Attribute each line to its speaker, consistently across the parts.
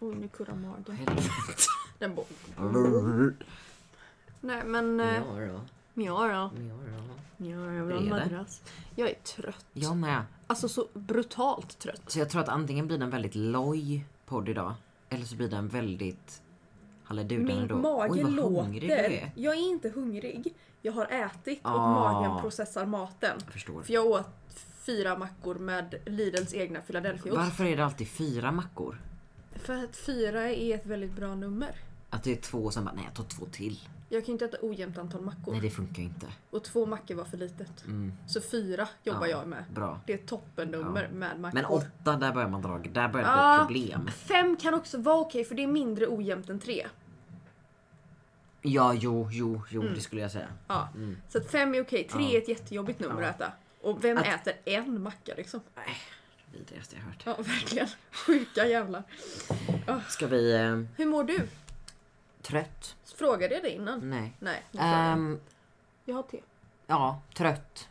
Speaker 1: Oj, nu kurrar magen.
Speaker 2: Helvete.
Speaker 1: Den bara...
Speaker 2: Ja
Speaker 1: Nej, men... eh,
Speaker 2: då.
Speaker 1: Mja då.
Speaker 2: Ja då.
Speaker 1: Ja, jag vill
Speaker 2: Hur
Speaker 1: ha en
Speaker 2: är det?
Speaker 1: madrass. Jag är trött.
Speaker 2: Jag med.
Speaker 1: Alltså så brutalt trött.
Speaker 2: Så jag tror att antingen blir det en väldigt loj podd idag. Eller så blir det en väldigt... Halleluja
Speaker 3: Min
Speaker 2: ändå.
Speaker 3: mage
Speaker 2: Oj, vad hungrig du
Speaker 3: låter.
Speaker 2: är.
Speaker 3: Jag är inte hungrig. Jag har ätit och
Speaker 2: Ah.
Speaker 3: magen processar maten.
Speaker 2: Jag förstår.
Speaker 1: För jag åt fyra mackor med Lidls egna Philadelphiaost.
Speaker 2: Varför är det alltid fyra mackor?
Speaker 1: För att fyra är ett väldigt bra nummer.
Speaker 2: Att det är två och sen bara, nej jag tar två till.
Speaker 1: Jag kan ju inte äta ojämnt antal mackor.
Speaker 2: Nej det funkar ju inte.
Speaker 1: Och två mackor var för litet.
Speaker 2: Mm,
Speaker 1: Så fyra jobbar
Speaker 2: Ja.
Speaker 1: jag med.
Speaker 2: bra.
Speaker 1: Det är ett toppennummer
Speaker 2: Ja.
Speaker 1: med mackor.
Speaker 2: Men åtta, där börjar man dra. Där börjar det
Speaker 1: Ah.
Speaker 2: bli problem.
Speaker 1: Fem kan också vara okej för det är mindre ojämnt än tre.
Speaker 2: Ja, jo, jo, jo, det skulle jag säga.
Speaker 1: Ja. Så att fem är okej, tre
Speaker 2: Mm. Ja.
Speaker 1: är ett jättejobbigt nummer
Speaker 2: Ja.
Speaker 1: att äta. Och vem
Speaker 2: Att-
Speaker 1: äter en macka liksom?
Speaker 2: Nej, det vidrigaste jag hört.
Speaker 1: Ja verkligen. Sjuka jävlar.
Speaker 2: Ska vi... Eh,
Speaker 1: Hur mår du?
Speaker 2: trött?
Speaker 1: Frågade jag det innan?
Speaker 2: Nej.
Speaker 1: Nej. nu frågar jag.
Speaker 2: Mm. Ehm,
Speaker 1: jag har te.
Speaker 2: ja, trött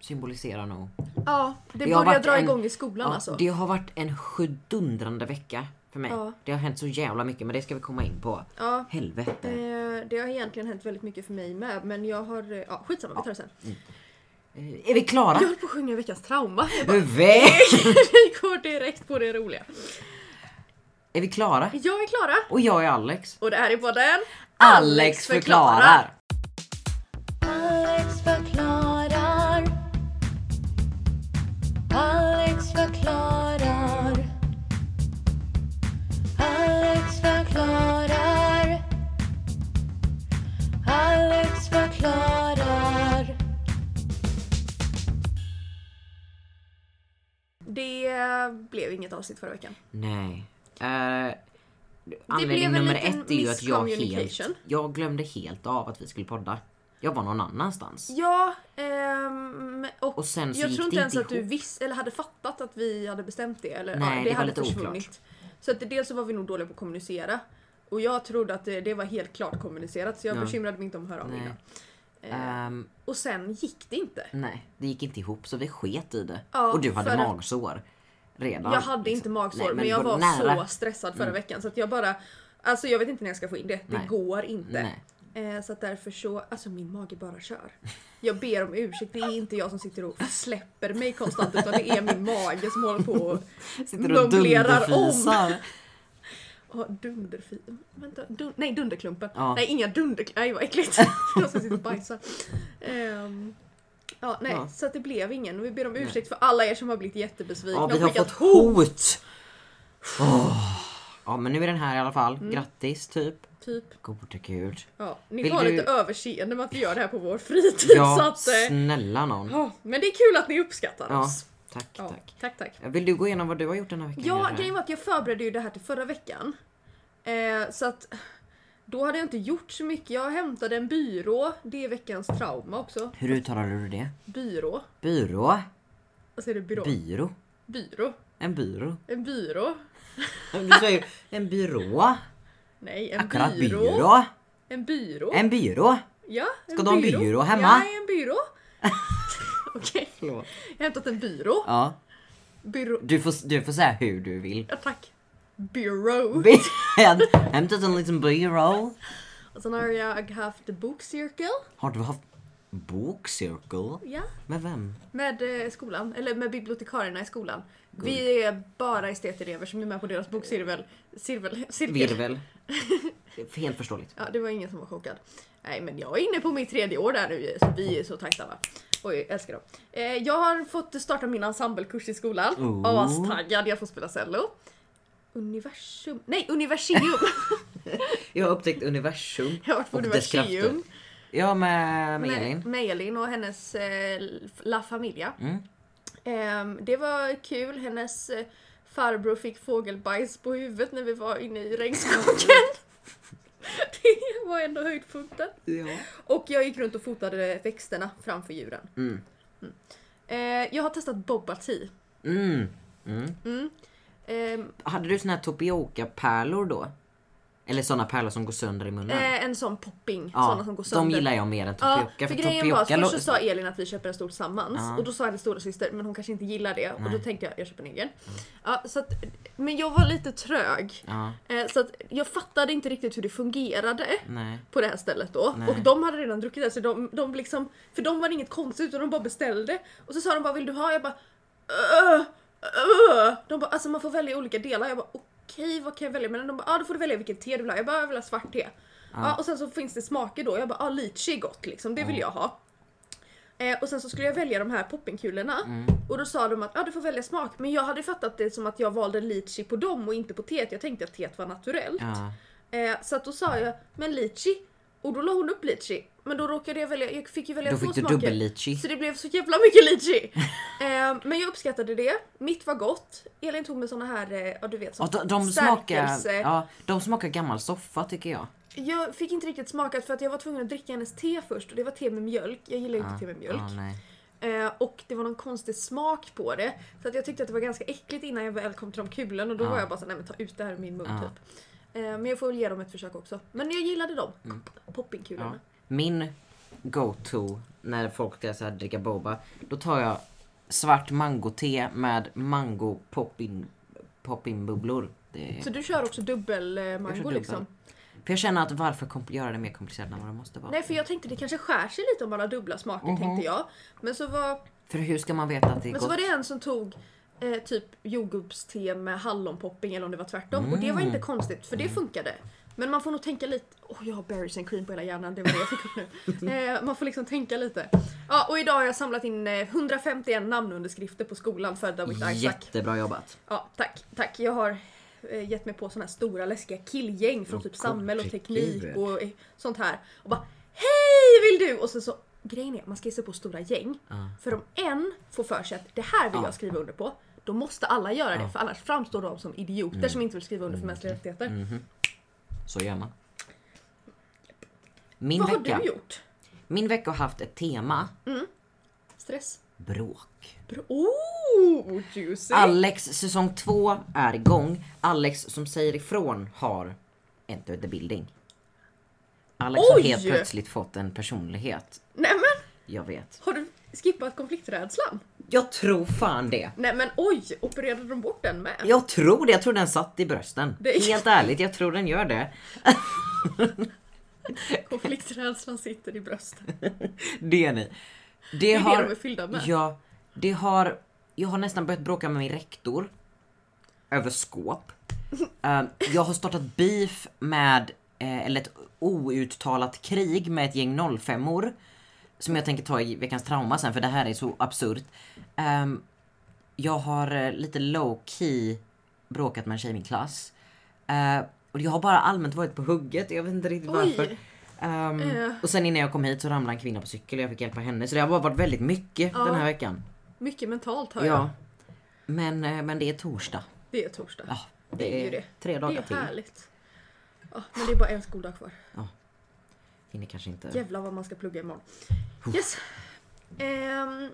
Speaker 2: symboliserar nog.
Speaker 1: Ja, det,
Speaker 2: Det
Speaker 1: börjar
Speaker 2: har varit
Speaker 1: dra
Speaker 2: en-
Speaker 1: igång i skolan
Speaker 2: Ja,
Speaker 1: alltså.
Speaker 2: Det har varit en sjudundrande vecka för mig.
Speaker 1: Ja.
Speaker 2: Det har hänt så jävla mycket men det ska vi komma in på.
Speaker 1: Ja,
Speaker 2: Helvete.
Speaker 1: eh, det har egentligen hänt väldigt mycket för mig med men jag har... eh, Ja, skitsamma, vi tar det sen.
Speaker 2: Eh, Är vi klara?
Speaker 1: Jag höll på att sjunga veckans trauma.
Speaker 2: Väl!
Speaker 1: Vi går direkt på det roliga.
Speaker 2: Är vi klara?
Speaker 1: Jag är Klara
Speaker 2: Och jag är Alex.
Speaker 1: och det här är podden
Speaker 2: Alex förklarar!
Speaker 4: Alex förklarar. Alex förklarar. Alex förklarar. Alex förklarar.
Speaker 1: Det blev inget avsnitt förra veckan.
Speaker 2: Nej. Eh, anledning
Speaker 1: blev en
Speaker 2: nummer
Speaker 1: liten
Speaker 2: ett är ju att jag helt...
Speaker 1: miscommunication.
Speaker 2: Jag glömde helt av att vi skulle podda. Jag var någon annanstans.
Speaker 1: Ja, ehm, och,
Speaker 2: Och sen så
Speaker 1: jag
Speaker 2: gick
Speaker 1: tror
Speaker 2: det
Speaker 1: inte ens
Speaker 2: inte
Speaker 1: att du
Speaker 2: ihop.
Speaker 1: visste eller hade fattat att vi hade bestämt det. Eller,
Speaker 2: Nej,
Speaker 1: ja,
Speaker 2: det var
Speaker 1: hade
Speaker 2: lite oklart.
Speaker 1: Så att dels så var vi nog dåliga på att kommunicera. Och jag trodde att det, det var helt klart kommunicerat så jag
Speaker 2: Ja.
Speaker 1: bekymrade mig inte om att höra av mig.
Speaker 2: Nej.
Speaker 1: innan. Eh,
Speaker 2: Ehm,
Speaker 1: Och sen gick det inte.
Speaker 2: nej, det gick inte ihop så vi sket i det.
Speaker 1: Ja,
Speaker 2: och du hade
Speaker 1: för att-
Speaker 2: magsår. Redan.
Speaker 1: Jag hade inte
Speaker 2: liksom.
Speaker 1: magsår
Speaker 2: Nej,
Speaker 1: men, jag
Speaker 2: det
Speaker 1: var så stressad förra veckan så att jag bara Alltså jag vet inte när jag ska få in det. Det
Speaker 2: Mm. Nej.
Speaker 1: går inte.
Speaker 2: Nej.
Speaker 1: Eh, så att därför så, alltså min mage bara kör. Jag ber om ursäkt, det är inte jag som sitter och släpper mig konstant utan det är min mage som håller på och
Speaker 2: Sitter och
Speaker 1: Mumlerar om.
Speaker 2: dunderfisar.
Speaker 1: Ja, dunderfi... Vänta, dun, nej dunderklumpen.
Speaker 2: Ja.
Speaker 1: Nej inga dunderklumpen, nej vad äckligt. Jag ska sitta och bajsa. Ehm, ja, nej,
Speaker 2: Ja.
Speaker 1: så att det blev ingen och vi ber om ursäkt för alla er som har blivit jättebesvikna
Speaker 2: Ja,
Speaker 1: och
Speaker 2: vi har
Speaker 1: skickat
Speaker 2: fått hot! Åh. Ja, men nu är den här i alla fall.
Speaker 1: Mm.
Speaker 2: Grattis, typ.
Speaker 1: Typ.
Speaker 2: Gode gud.
Speaker 1: Ja, ni
Speaker 2: Vill
Speaker 1: får ha
Speaker 2: du-
Speaker 1: lite överseende med att vi gör det här på vår fritid. så
Speaker 2: Ja,
Speaker 1: att, eh,
Speaker 2: snälla någon.
Speaker 1: ja, men det är kul att ni uppskattar
Speaker 2: Ja,
Speaker 1: oss.
Speaker 2: tack,
Speaker 1: Ja,
Speaker 2: tack.
Speaker 1: tack, tack.
Speaker 2: Vill du gå igenom vad du har gjort den här veckan?
Speaker 1: Ja,
Speaker 2: eller?
Speaker 1: grejen var att jag förberedde ju det här till förra veckan. Eh, så att då hade jag inte gjort så mycket. Jag hämtade en byrå. Det är veckans trauma också.
Speaker 2: Hur uttalar du det?
Speaker 1: Byrå.
Speaker 2: Byrå?
Speaker 1: Vad säger du? Byrå?
Speaker 2: Byrå?
Speaker 1: byrå?
Speaker 2: En byrå?
Speaker 1: En byrå?
Speaker 2: Du sa ju en byrå.
Speaker 1: Nej, en
Speaker 2: Akkurat
Speaker 1: byrå.
Speaker 2: byrå.
Speaker 1: En byrå?
Speaker 2: En byrå.
Speaker 1: Ja, en
Speaker 2: Ska du ha en byrå hemma?
Speaker 1: Ja, en byrå. Okej,
Speaker 2: Förlåt.
Speaker 1: jag har hämtat en byrå.
Speaker 2: Ja,
Speaker 1: Byrå.
Speaker 2: du får, du får säga hur du vill.
Speaker 1: Ja, tack. Byrå.
Speaker 2: Häm- Hämtat en liten byrå.
Speaker 1: Och sen har jag haft bokcirkel.
Speaker 2: Har du haft bokcirkel?
Speaker 1: Ja.
Speaker 2: Med vem?
Speaker 1: Med eh, skolan, eller med bibliotekarierna i skolan. Vi är bara estetelever som är med på deras bokcirkel. Cirkel, cirkel.
Speaker 2: Virvel. Helt förståeligt.
Speaker 1: Ja, det var ingen som var chockad. Nej, men jag är inne på mitt tredje år där nu så vi är så tacksamma. Oj, jag älskar dem. Eh, jag har fått starta min ensemblekurs i skolan.
Speaker 2: Oh.
Speaker 1: Astaggad, jag får spela cello. Universum, nej universium!
Speaker 2: Jag har upptäckt universum.
Speaker 1: jag har varit på
Speaker 2: Och dess krafter.
Speaker 1: universium.
Speaker 2: Ja, med, med Elin. Mm.
Speaker 1: Med, med Elin och hennes eh, La Familia. Ehm, det var kul. Hennes eh, farbror fick fågelbajs på huvudet när vi var inne i regnskogen. det var ändå höjdpunkten.
Speaker 2: Ja.
Speaker 1: Och jag gick runt och fotade växterna framför djuren.
Speaker 2: Mm.
Speaker 1: Mm. Eh, jag har testat Boba Tea.
Speaker 2: Mm. Mm.
Speaker 1: Ehm,
Speaker 2: Hade du såna här topioka-pärlor då? Eller såna pärlor som går sönder i munnen.
Speaker 1: Eh, en sån popping,
Speaker 2: ja,
Speaker 1: såna som går sönder.
Speaker 2: De gillar jag mer än
Speaker 1: Ja,
Speaker 2: tapioca.
Speaker 1: för,
Speaker 2: för
Speaker 1: grejen var att
Speaker 2: tapioca
Speaker 1: först så
Speaker 2: lå-
Speaker 1: sa Elin att vi köper en stol tillsammans
Speaker 2: Ja.
Speaker 1: och då sa hennes stora syster men hon kanske inte gillar det och då
Speaker 2: Nej. Mm.
Speaker 1: tänkte jag jag köper en egen. Ja, så att, men jag var lite trög
Speaker 2: Ja,
Speaker 1: eh, så att jag fattade inte riktigt hur det fungerade
Speaker 2: nej.
Speaker 1: på det här stället då
Speaker 2: Nej.
Speaker 1: och de hade redan druckit det så de, de liksom, för de var det inget konstigt utan de bara beställde och så sa de bara vill du ha? Jag bara "Öh, öh." De bara alltså man får välja olika delar. Jag bara okej vad kan jag välja mellan? De bara ja ah, då får du välja vilket te du vill ha. Jag bara jag vill ha svart te. Ja. och sen så finns det smaker då. Jag bara ah, lychee är gott liksom, det vill jag ha. Eh, och sen så skulle jag välja de här poppingkulorna och då sa de att ja ah, du får välja smak men jag hade fattat det som att jag valde lychee på dem och inte på teet. Jag tänkte att teet var naturellt.
Speaker 2: Ja,
Speaker 1: Eh, så att då sa jag, men litchi. Och då la hon upp litchi. Men då råkade jag välja, jag fick ju välja
Speaker 2: då
Speaker 1: två
Speaker 2: fick du
Speaker 1: smaker.
Speaker 2: dubbel-litchi.
Speaker 1: Så det blev så jävla mycket litchi. eh, men jag uppskattade det. Mitt var gott. Elin tog med såna här, eh, ja du vet,
Speaker 2: Ja,
Speaker 1: som
Speaker 2: de, de, smakar,
Speaker 1: stärkelse.
Speaker 2: ja, de smakar gammal soffa tycker jag.
Speaker 1: Jag fick inte riktigt smakat för att jag var tvungen att dricka hennes te först och det var te med mjölk. Jag gillar ju inte
Speaker 2: Ja,
Speaker 1: te med mjölk.
Speaker 2: Ja, nej.
Speaker 1: Eh, och det var någon konstig smak på det. Så att jag tyckte att det var ganska äckligt innan jag väl kom till de kulorna och då
Speaker 2: Ja.
Speaker 1: var jag bara så nej men ta ut det här ur min mun
Speaker 2: Ja.
Speaker 1: typ. Eh, men jag får väl ge dem ett försök också. Men jag gillade dem.
Speaker 2: Mm. Ja.
Speaker 1: Poppingkulorna.
Speaker 2: Min go-to när folk ska så här dricka boba, då tar jag svart mangote med mango poppin poppinbubblor. Det är...
Speaker 1: Så du kör också dubbel eh,
Speaker 2: jag kör
Speaker 1: mango
Speaker 2: dubbel.
Speaker 1: liksom?
Speaker 2: För jag känner att varför kompl- göra det mer komplicerat än vad det måste vara?
Speaker 1: Nej för jag tänkte det kanske skär sig lite om man har dubbla smaker
Speaker 2: Mhm.
Speaker 1: tänkte jag. Men så var,
Speaker 2: För hur ska man veta att det är
Speaker 1: men så
Speaker 2: gott?
Speaker 1: var det en som tog eh, typ jordgubbste med hallonpopping eller om det var tvärtom och det var
Speaker 2: Mm.
Speaker 1: inte konstigt för det funkade. Men man får nog tänka lite, åh jag har berries and cream på hela hjärnan, det var det jag fick upp nu. Eh, man får liksom tänka lite. Ja och idag har jag samlat in eh, 151 namnunderskrifter på skolan för Dawit Isaac.
Speaker 2: Jättebra jobbat.
Speaker 1: Ja, tack. Tack. Jag har eh, gett mig på såna här stora läskiga killgäng från
Speaker 2: Åh,
Speaker 1: typ samhälle och
Speaker 2: gode
Speaker 1: teknik
Speaker 2: gud.
Speaker 1: och eh, sånt här. Och bara Hej vill du! Och sen så grejen är man ska ge sig på stora gäng.
Speaker 2: Ja.
Speaker 1: För om en får för sig att det här vill
Speaker 2: Ja.
Speaker 1: jag skriva under på. Då måste alla göra det
Speaker 2: Ja. Mm.
Speaker 1: för annars framstår de som idioter som inte vill skriva under för mänskliga rättigheter.
Speaker 2: Så gör man. Min
Speaker 1: Vad har
Speaker 2: vecka,
Speaker 1: du gjort?
Speaker 2: min vecka har haft ett tema.
Speaker 1: Stress?
Speaker 2: Bråk.
Speaker 1: Bra. Oh, juicy!
Speaker 2: Alex säsong två är igång. Alex som säger ifrån har entered the building. Alex har
Speaker 1: Oj!
Speaker 2: helt plötsligt fått en personlighet.
Speaker 1: Nämen!
Speaker 2: Jag vet.
Speaker 1: Har du skippat konflikträdslan?
Speaker 2: Jag tror fan det.
Speaker 1: Nämen oj! Opererade de bort den med?
Speaker 2: Jag tror det. Jag tror den satt i brösten.
Speaker 1: Det är-
Speaker 2: Helt ärligt, jag tror den gör det.
Speaker 1: Konflikträdslan sitter i bröstet.
Speaker 2: Det är ni. Det,
Speaker 1: Det är
Speaker 2: har...
Speaker 1: det de är fyllda med.
Speaker 2: Ja, det har... Jag har nästan börjat bråka med min rektor. Över skåp. Ehm, jag har startat beef med, eh, eller ett outtalat krig med ett gäng 05 or Som jag tänker ta i veckans trauma sen för det här är så absurt. Ehm, jag har eh, lite low key bråkat med en tjej i min klass. Eh, och jag har bara allmänt varit på hugget, jag vet inte riktigt
Speaker 1: Oj.
Speaker 2: varför. Ehm,
Speaker 1: Eh.
Speaker 2: Och sen innan jag kom hit så ramlade en kvinna på cykel och jag fick hjälpa henne. Så det har bara varit väldigt mycket
Speaker 1: Ja.
Speaker 2: den här veckan.
Speaker 1: Mycket mentalt hör jag.
Speaker 2: Ja. Men, eh, men det är torsdag.
Speaker 1: Det är torsdag.
Speaker 2: Ja, det,
Speaker 1: Det är ju
Speaker 2: är
Speaker 1: det.
Speaker 2: tre
Speaker 1: det är
Speaker 2: dagar
Speaker 1: ju
Speaker 2: till.
Speaker 1: härligt. Ja, men det är bara en skoldag kvar.
Speaker 2: Hinner kanske inte.
Speaker 1: Jävlar vad man ska plugga imorgon. Yes. Ehm,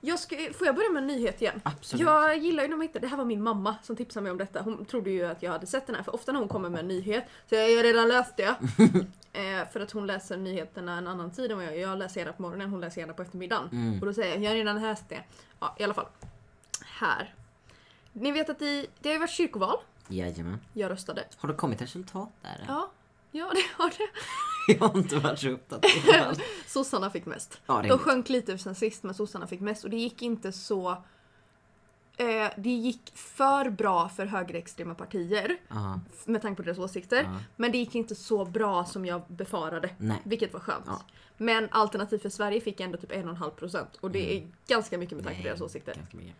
Speaker 1: jag ska, får jag börja med en nyhet igen?
Speaker 2: Absolut.
Speaker 1: Jag gillar ju när man hittar, det här var min mamma som tipsade mig om detta. Hon trodde ju att jag hade sett den här för ofta när hon kommer med en nyhet så jag har ju redan läst det. eh, för att hon läser nyheterna en annan tid än vad jag gör. Jag läser gärna på morgonen, hon läser gärna på eftermiddagen.
Speaker 2: Mm.
Speaker 1: Och då säger jag, jag har redan läst det. Ja, i alla fall. Här. Ni vet att i, det har ju varit kyrkoval.
Speaker 2: Jajamän.
Speaker 1: Jag röstade.
Speaker 2: Har det kommit resultat där? än?
Speaker 1: Ja, ja det har det.
Speaker 2: Jag har inte varit så uppdaterad.
Speaker 1: Sossarna fick mest.
Speaker 2: Ja,
Speaker 1: De
Speaker 2: rimligt.
Speaker 1: sjönk lite sen sist men sossarna fick mest och det gick inte så... Eh, det gick för bra för högerextrema partier
Speaker 2: Ja.
Speaker 1: f- med tanke på deras åsikter.
Speaker 2: Ja.
Speaker 1: Men det gick inte så bra som jag befarade.
Speaker 2: Nej.
Speaker 1: Vilket var skönt.
Speaker 2: Ja.
Speaker 1: Men Alternativ för Sverige fick ändå typ 1,5% och det är ganska mycket med tanke på
Speaker 2: Mm. Nej,
Speaker 1: deras åsikter.
Speaker 2: Ganska mycket.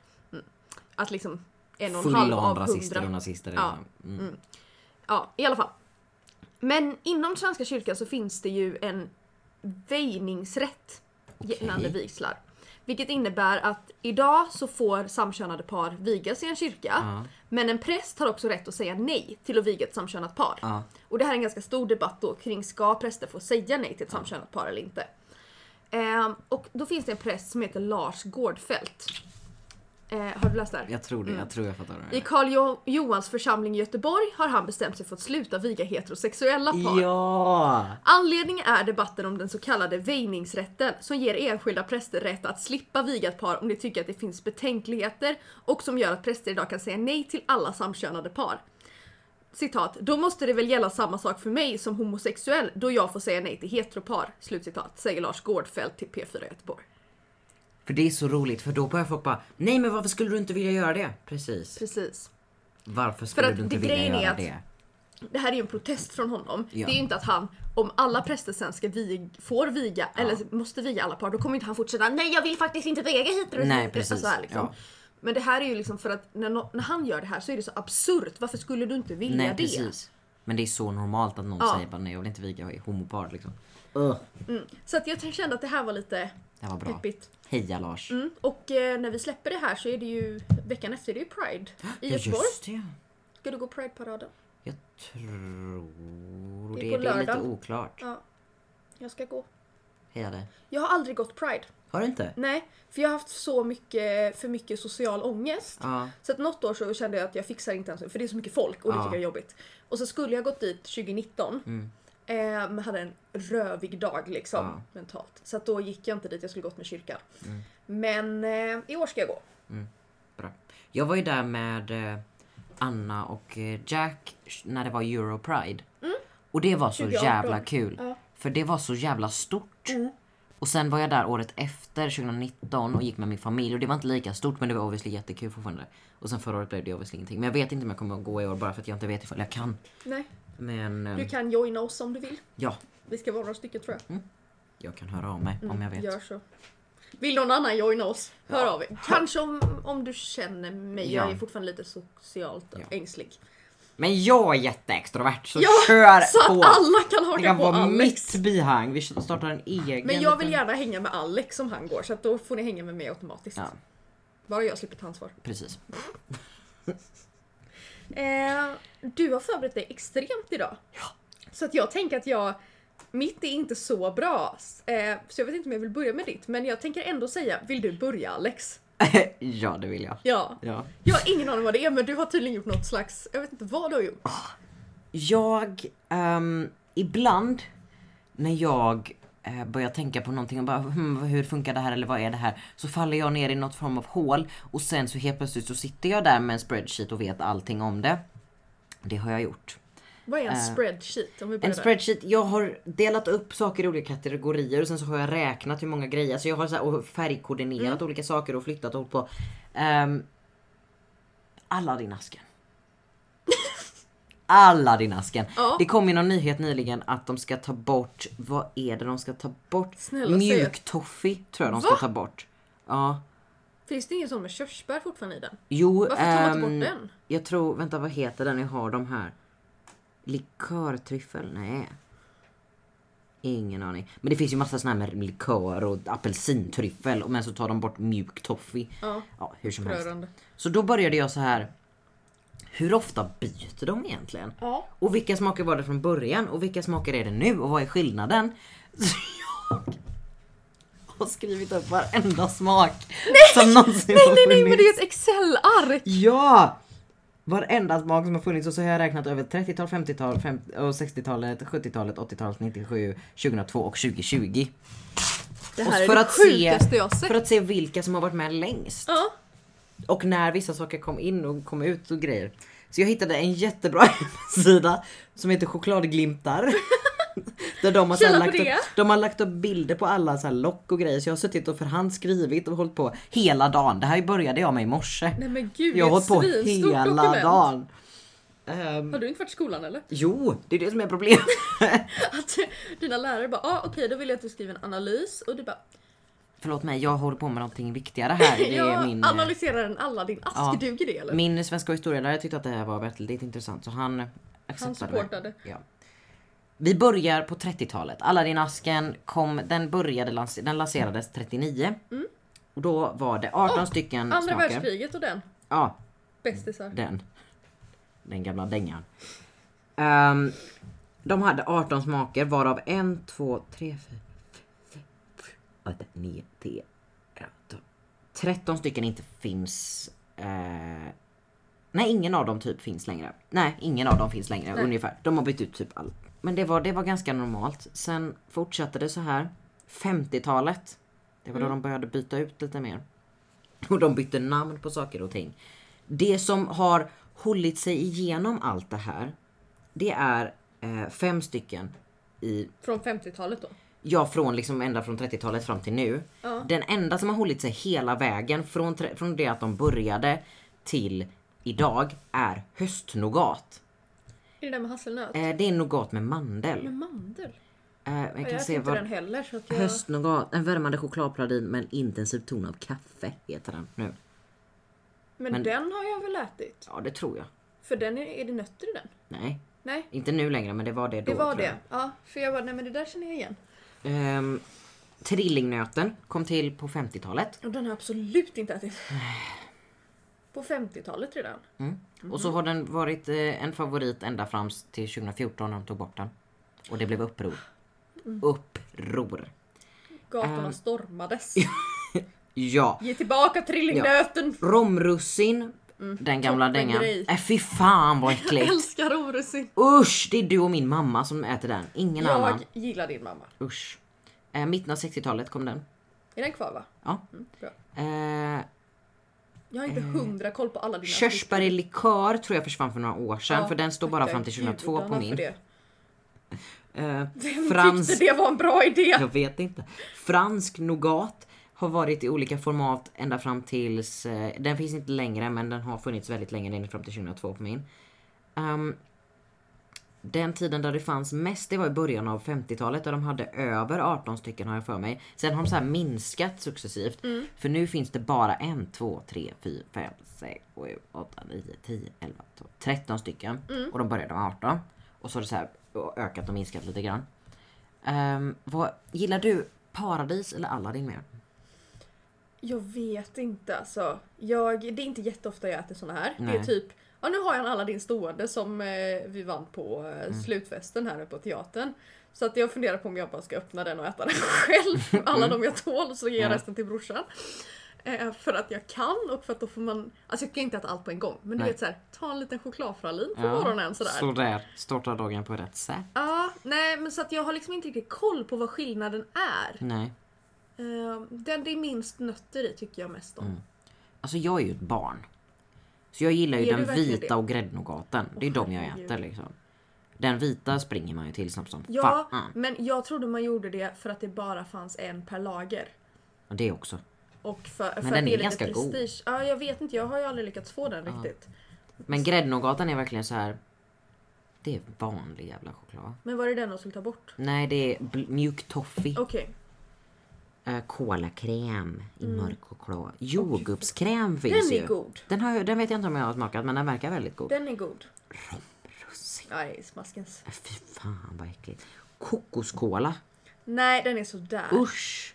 Speaker 1: Att liksom 1,5
Speaker 2: Full on
Speaker 1: av
Speaker 2: rasister
Speaker 1: 100
Speaker 2: och nazister.
Speaker 1: Ja.
Speaker 2: liksom. Mm.
Speaker 1: Ja, i alla fall. Men inom Svenska kyrkan så finns det ju en väjningsrätt gällande
Speaker 2: Okej.
Speaker 1: vigslar. Vilket innebär att idag så får samkönade par vigas i en kyrka.
Speaker 2: Ja.
Speaker 1: Men en präst har också rätt att säga nej till att viga ett samkönat par.
Speaker 2: Ja.
Speaker 1: Och det här är en ganska stor debatt då kring ska präster få säga nej till ett samkönat par eller inte. Ehm, och då finns det en präst som heter Lars Gårdfält. Eh, har du läst det här?
Speaker 2: Jag tror det, jag tror jag fattar vad
Speaker 1: Mm. I
Speaker 2: det
Speaker 1: Karl jo- Johans församling i Göteborg har han bestämt sig för att sluta viga heterosexuella par.
Speaker 2: Ja!
Speaker 1: Anledningen är debatten om den så kallade väjningsrätten som ger enskilda präster rätt att slippa viga ett par om de tycker att det finns betänkligheter och som gör att präster idag kan säga nej till alla samkönade par. Citat, då måste det väl gälla samma sak för mig som homosexuell då jag får säga nej till heteropar. Slutcitat, säger Lars Gårdfeldt till P4 Göteborg.
Speaker 2: För det är så roligt för då börjar folk bara Nej men varför skulle du inte vilja göra det? Precis.
Speaker 1: Precis.
Speaker 2: Varför skulle
Speaker 1: att
Speaker 2: du inte
Speaker 1: det-
Speaker 2: vilja
Speaker 1: grejen är
Speaker 2: göra
Speaker 1: att-
Speaker 2: det?
Speaker 1: Det här är ju en protest från honom.
Speaker 2: Ja.
Speaker 1: Det är ju inte att han, om alla präster sen ska vig, får viga eller måste viga alla par, då kommer inte han fortsätta Nej jag vill faktiskt inte viga heterosexuella.
Speaker 2: Nej, precis.
Speaker 1: Alltså här, liksom.
Speaker 2: Ja.
Speaker 1: Men det här är ju liksom för att när, nå- när han gör det här så är det så absurt. Varför skulle du inte vilja
Speaker 2: Nej
Speaker 1: det?
Speaker 2: precis. Men det är så normalt att någon
Speaker 1: Ja.
Speaker 2: säger bara nej jag vill inte viga jag är homopar liksom. Ugh.
Speaker 1: Så att jag t- kände att det här var lite
Speaker 2: Det här var bra.
Speaker 1: peppigt.
Speaker 2: Heja Lars.
Speaker 1: Mm. Och eh, när vi släpper det här så är det ju veckan efter det är ju Pride i
Speaker 2: ja,
Speaker 1: Göteborg.
Speaker 2: just det.
Speaker 1: Ska du gå Pride-paraden?
Speaker 2: Jag tror
Speaker 1: Det
Speaker 2: det.
Speaker 1: är
Speaker 2: Det
Speaker 1: på
Speaker 2: är, lite
Speaker 1: lördagen.
Speaker 2: oklart.
Speaker 1: Ja. Jag ska gå.
Speaker 2: Heja dig.
Speaker 1: Jag har aldrig gått Pride.
Speaker 2: Har du inte?
Speaker 1: Nej, för jag har haft så mycket, för mycket social ångest.
Speaker 2: Ja.
Speaker 1: Så att något år så kände jag att jag fixar inte ens för det är så mycket folk och det
Speaker 2: Ja. Mm.
Speaker 1: tycker jag är jobbigt. Och så skulle jag gått dit 2019. Eh, men hade en rövig dag liksom
Speaker 2: Ja. Mm.
Speaker 1: mentalt. Så att då gick jag inte dit, jag skulle gått med kyrkan. Men eh, i år ska jag gå.
Speaker 2: Bra. Jag var ju där med eh, Anna och eh, Jack sh- när det var Euro Pride. Och det var så
Speaker 1: 2018.
Speaker 2: jävla kul.
Speaker 1: Mm. Ja. Mm.
Speaker 2: För det var så jävla stort. Och sen var jag där året efter, 2019, och gick med min familj. Och det var inte lika stort men det var obviously jättekul fortfarande. Och sen förra året blev det obviously ingenting. Men jag vet inte om jag kommer att gå i år bara för att jag inte vet ifall jag kan.
Speaker 1: Nej,
Speaker 2: Men eh,
Speaker 1: du kan joina oss om du vill.
Speaker 2: ja,
Speaker 1: Vi ska vara några stycken tror jag.
Speaker 2: jag kan höra av mig om jag Mm. vet.
Speaker 1: Mm, Gör så. Vill någon annan joina oss? Hör av er. Kanske om, om du känner mig. Jag
Speaker 2: Ja.
Speaker 1: är fortfarande lite socialt
Speaker 2: Ja.
Speaker 1: ängslig.
Speaker 2: Men jag är jätteextrovert så
Speaker 1: Ja,
Speaker 2: kör
Speaker 1: Så att
Speaker 2: på!
Speaker 1: alla kan
Speaker 2: det
Speaker 1: haka
Speaker 2: kan
Speaker 1: på
Speaker 2: vara
Speaker 1: Alex.
Speaker 2: mitt bihang, vi startar en egen
Speaker 1: Men jag vill
Speaker 2: liten-
Speaker 1: gärna hänga med Alex om han går så att då får ni hänga med mig automatiskt.
Speaker 2: Ja,
Speaker 1: Bara jag slipper ta ansvar.
Speaker 2: precis.
Speaker 1: Eh, du har förberett dig extremt idag. Ja. Så att jag tänker att jag, mitt är inte så bra. Eh, så jag vet inte om jag vill börja med ditt men jag tänker ändå säga, vill du börja Alex?
Speaker 2: ja, det vill jag.
Speaker 1: Ja.
Speaker 2: Ja.
Speaker 1: Jag har ingen aning vad det är men du har tydligen gjort något slags, jag vet inte vad du har gjort.
Speaker 2: Jag, ehm, ibland när jag eh, börjar tänka på någonting och bara hmm, hur funkar det här eller vad är det här? Så faller jag ner i något form av hål och sen så helt plötsligt så sitter jag där med en spreadsheet och vet allting om det. Det har jag gjort.
Speaker 1: Vad är en
Speaker 2: Eh,
Speaker 1: spreadsheet? Om vi börjar
Speaker 2: En
Speaker 1: där.
Speaker 2: spreadsheet, jag har delat upp saker i olika kategorier och sen så har jag räknat hur många grejer, så jag har så här, och färgkoordinerat
Speaker 1: Mm.
Speaker 2: olika saker och flyttat och hållit på. Um, Aladdin-asken. Aladdin-asken.
Speaker 1: Ja.
Speaker 2: Det kom ju någon nyhet nyligen att de ska ta bort, vad är det de ska ta bort?
Speaker 1: Snälla, säg
Speaker 2: Mjuk toffee tror jag de ska
Speaker 1: Va?
Speaker 2: ta bort. Ja.
Speaker 1: Finns det ingen sån med körsbär fortfarande i den?
Speaker 2: Jo,
Speaker 1: Varför tar man inte
Speaker 2: ehm,
Speaker 1: bort den?
Speaker 2: Jag tror, vänta vad heter den? Jag har de här. Likörtryffel? Nej. Ingen aning. Men det finns ju massa såna här med likör och apelsintryffel och men så tar de bort mjuk toffee.
Speaker 1: Ja.
Speaker 2: Ja, hur som helst.
Speaker 1: Rörande.
Speaker 2: Så då började jag så här. Hur ofta byter de egentligen?
Speaker 1: Ja.
Speaker 2: Och vilka smaker var det från början och vilka smaker är det nu och vad är skillnaden? Så jag har skrivit upp varenda smak som någonsin
Speaker 1: Nej
Speaker 2: har
Speaker 1: nej nej men
Speaker 2: funnits.
Speaker 1: det är ett excel-ark!
Speaker 2: Ja! Varenda smak som har funnits och så har jag räknat över 30-tal, 50-tal, 50 och 60-talet, 70-talet, 80-talet, 97, 2002 och 2020.
Speaker 1: Det
Speaker 2: Och
Speaker 1: här är
Speaker 2: för
Speaker 1: det
Speaker 2: att se-
Speaker 1: sjukaste jag sett.
Speaker 2: För att se vilka som har varit med längst.
Speaker 1: Ja.
Speaker 2: Och när vissa saker kom in och kom ut och grejer. Så jag hittade en jättebra hemsida som heter chokladglimtar. Där de har, så här
Speaker 1: Kolla på
Speaker 2: lagt upp,
Speaker 1: det.
Speaker 2: de har lagt upp bilder på alla så här lock och grejer så jag har suttit och för hand skrivit och hållit på hela dagen. Det här började jag med i morse.
Speaker 1: Nej men gud,
Speaker 2: Jag har
Speaker 1: jag
Speaker 2: hållit på
Speaker 1: ett svinstort
Speaker 2: hela
Speaker 1: dokument.
Speaker 2: dagen. Ehm,
Speaker 1: Har du inte varit i skolan eller?
Speaker 2: jo, det är det som är problemet.
Speaker 1: Att dina lärare bara ah, okej då vill jag att du skriver en analys och du bara
Speaker 2: Förlåt mig, jag håller på med någonting viktigare här. Det är
Speaker 1: jag
Speaker 2: min, eh,
Speaker 1: analyserar en Aladdin-ask,
Speaker 2: ja.
Speaker 1: duger det eller?
Speaker 2: min svenska historielärare tyckte att det här var väldigt intressant så han accepterade mig.
Speaker 1: supportade.
Speaker 2: Ja. Vi börjar på 30-talet. Aladdin-asken kom, den började, lans- den lanserades 39. Och då var det 18 stycken
Speaker 1: Mm. Andra
Speaker 2: smaker. Mm.
Speaker 1: världskriget och den,
Speaker 2: Ja,
Speaker 1: bästisar.
Speaker 2: Den. Den gamla dängan. Ehm, de hade 18 smaker varav 1, 2, 3, 4, 5, 6, 7, 8, 9, 10, 11, 12, 13 stycken inte finns. Eh, nej, ingen av dem typ finns längre. Nej, ingen av dem finns längre ungefär. De har bytt ut typ allt. Men det var, det var ganska normalt. Sen fortsatte det så här. 50-talet. Det var då de började byta ut lite mer. Och de bytte namn på saker och ting. Det som har hållit sig igenom allt det här. Det är eh, fem stycken i
Speaker 1: Från 50-talet då.
Speaker 2: Ja, från liksom ända från 30-talet fram till nu. Den enda som har hållit sig hela vägen från, tre- från det att de började till idag är höstnogat.
Speaker 1: Är det där med hasselnöt?
Speaker 2: Eh, det är nougat med mandel.
Speaker 1: Med mandel?
Speaker 2: Eh, jag kan
Speaker 1: Mm. Jag äter
Speaker 2: se
Speaker 1: inte
Speaker 2: vad...
Speaker 1: den heller så att jag...
Speaker 2: Höstnougat, en värmande chokladpralin med en intensiv ton av kaffe heter den nu.
Speaker 1: Men,
Speaker 2: men-
Speaker 1: den har jag väl ätit?
Speaker 2: Ja, det tror jag.
Speaker 1: För den är, är det nötter i den?
Speaker 2: Nej,
Speaker 1: Nej,
Speaker 2: inte nu längre men det var det då.
Speaker 1: det var
Speaker 2: tror jag.
Speaker 1: det. Ja, för jag bara, nej men det där känner jag igen.
Speaker 2: Ehm, trillingnöten kom till på 50-talet.
Speaker 1: Och den har jag absolut inte ätit. På 50-talet redan.
Speaker 2: Mm, Och så har den varit eh, en favorit ända fram till 2014 när de tog bort den. Och det blev uppror.
Speaker 1: Mm.
Speaker 2: Uppror. eh.
Speaker 1: Gatorna stormades.
Speaker 2: Ja.
Speaker 1: Ge tillbaka trillingnöten!
Speaker 2: Romrussin. Den gamla
Speaker 1: Mm. toppen
Speaker 2: dängan.
Speaker 1: grej.
Speaker 2: Äh, fy fan vad
Speaker 1: Jag
Speaker 2: äckligt.
Speaker 1: älskar orosing.
Speaker 2: Usch! Det är du och min mamma som äter den. Ingen annan.
Speaker 1: Jag gillar din mamma.
Speaker 2: Usch. Eh, mitten av 60-talet kom den.
Speaker 1: Är den kvar va? Mm,
Speaker 2: Ja.
Speaker 1: bra.
Speaker 2: Eh,
Speaker 1: Jag har inte hundra koll på alla dina
Speaker 2: körsbär i likör tror jag försvann för några år sedan.
Speaker 1: typ. Ja,
Speaker 2: för den står bara
Speaker 1: tackar
Speaker 2: fram till 2002 på
Speaker 1: gudarna för
Speaker 2: min.
Speaker 1: det.
Speaker 2: Eh,
Speaker 1: Vem
Speaker 2: Frans
Speaker 1: tyckte det var en bra idé?
Speaker 2: Jag vet inte. Fransk nougat har varit i olika format ända fram tills... eh, Den finns inte längre men den har funnits väldigt länge, ända fram till 2002 på min. Ehm, den tiden där det fanns mest, det var i början av 50-talet där de hade över 18 stycken har jag för mig. Sen har de så här minskat successivt. För nu finns det bara en, två, tre, fyra, fem, sex, sju, åtta, nio, tio, elva, tolv, 13 stycken. Och de började med 18. Och så har det så här ökat och minskat lite grann. Ehm, vad, gillar du Paradis eller Aladdin mer?
Speaker 1: Jag vet inte alltså. Jag, det är inte jätteofta jag äter såna här. Det är
Speaker 2: Nej.
Speaker 1: typ, ja nu har jag en Aladdin stående som eh, vi vann på eh,
Speaker 2: Mm.
Speaker 1: slutfesten här på teatern. Så att jag funderar på om jag bara ska öppna den och äta den själv. Alla de jag tål och så ger jag
Speaker 2: Mm. Ja.
Speaker 1: resten till brorsan. Eh, för att jag kan och för att då får man, alltså jag kan inte äta allt på en gång. Men du
Speaker 2: Nej.
Speaker 1: vet såhär, ta en liten chokladpralin på morgonen sådär.
Speaker 2: Sådär, starta dagen på rätt sätt.
Speaker 1: Ja, nej men så att jag har liksom inte riktigt koll på vad skillnaden är.
Speaker 2: Nej.
Speaker 1: Eh, den det är minst nötter i tycker jag mest om.
Speaker 2: Alltså jag är ju ett barn. Så jag gillar ju
Speaker 1: Är du
Speaker 2: den
Speaker 1: verkligen det?
Speaker 2: vita och gräddnougaten. Det är de jag
Speaker 1: herregud.
Speaker 2: äter liksom. Den vita springer man ju till snabbt som
Speaker 1: Ja,
Speaker 2: fan.
Speaker 1: men jag trodde man gjorde det för att det bara fanns en per lager.
Speaker 2: Och det också.
Speaker 1: Och för, för
Speaker 2: den
Speaker 1: att
Speaker 2: är
Speaker 1: det lite
Speaker 2: ganska god.
Speaker 1: prestige. Ja, jag vet inte, jag har ju aldrig lyckats få den riktigt.
Speaker 2: Men gräddnougaten är verkligen så här. Det är vanlig jävla choklad.
Speaker 1: Men var det den de skulle ta bort?
Speaker 2: Nej det är bl- mjuk toffee.
Speaker 1: Okej.
Speaker 2: Eh, Kolakräm i
Speaker 1: Mm.
Speaker 2: mörk choklad. Jordgubbskräm finns
Speaker 1: Den
Speaker 2: ju.
Speaker 1: är god.
Speaker 2: Den, har, jag- den vet jag inte om jag har smakat men den verkar väldigt god.
Speaker 1: Den är god.
Speaker 2: Russin.
Speaker 1: Nej, smaskens.
Speaker 2: Äh, Fy fan vad äckligt. Kokoskola.
Speaker 1: Nej, den är sådär.
Speaker 2: Usch!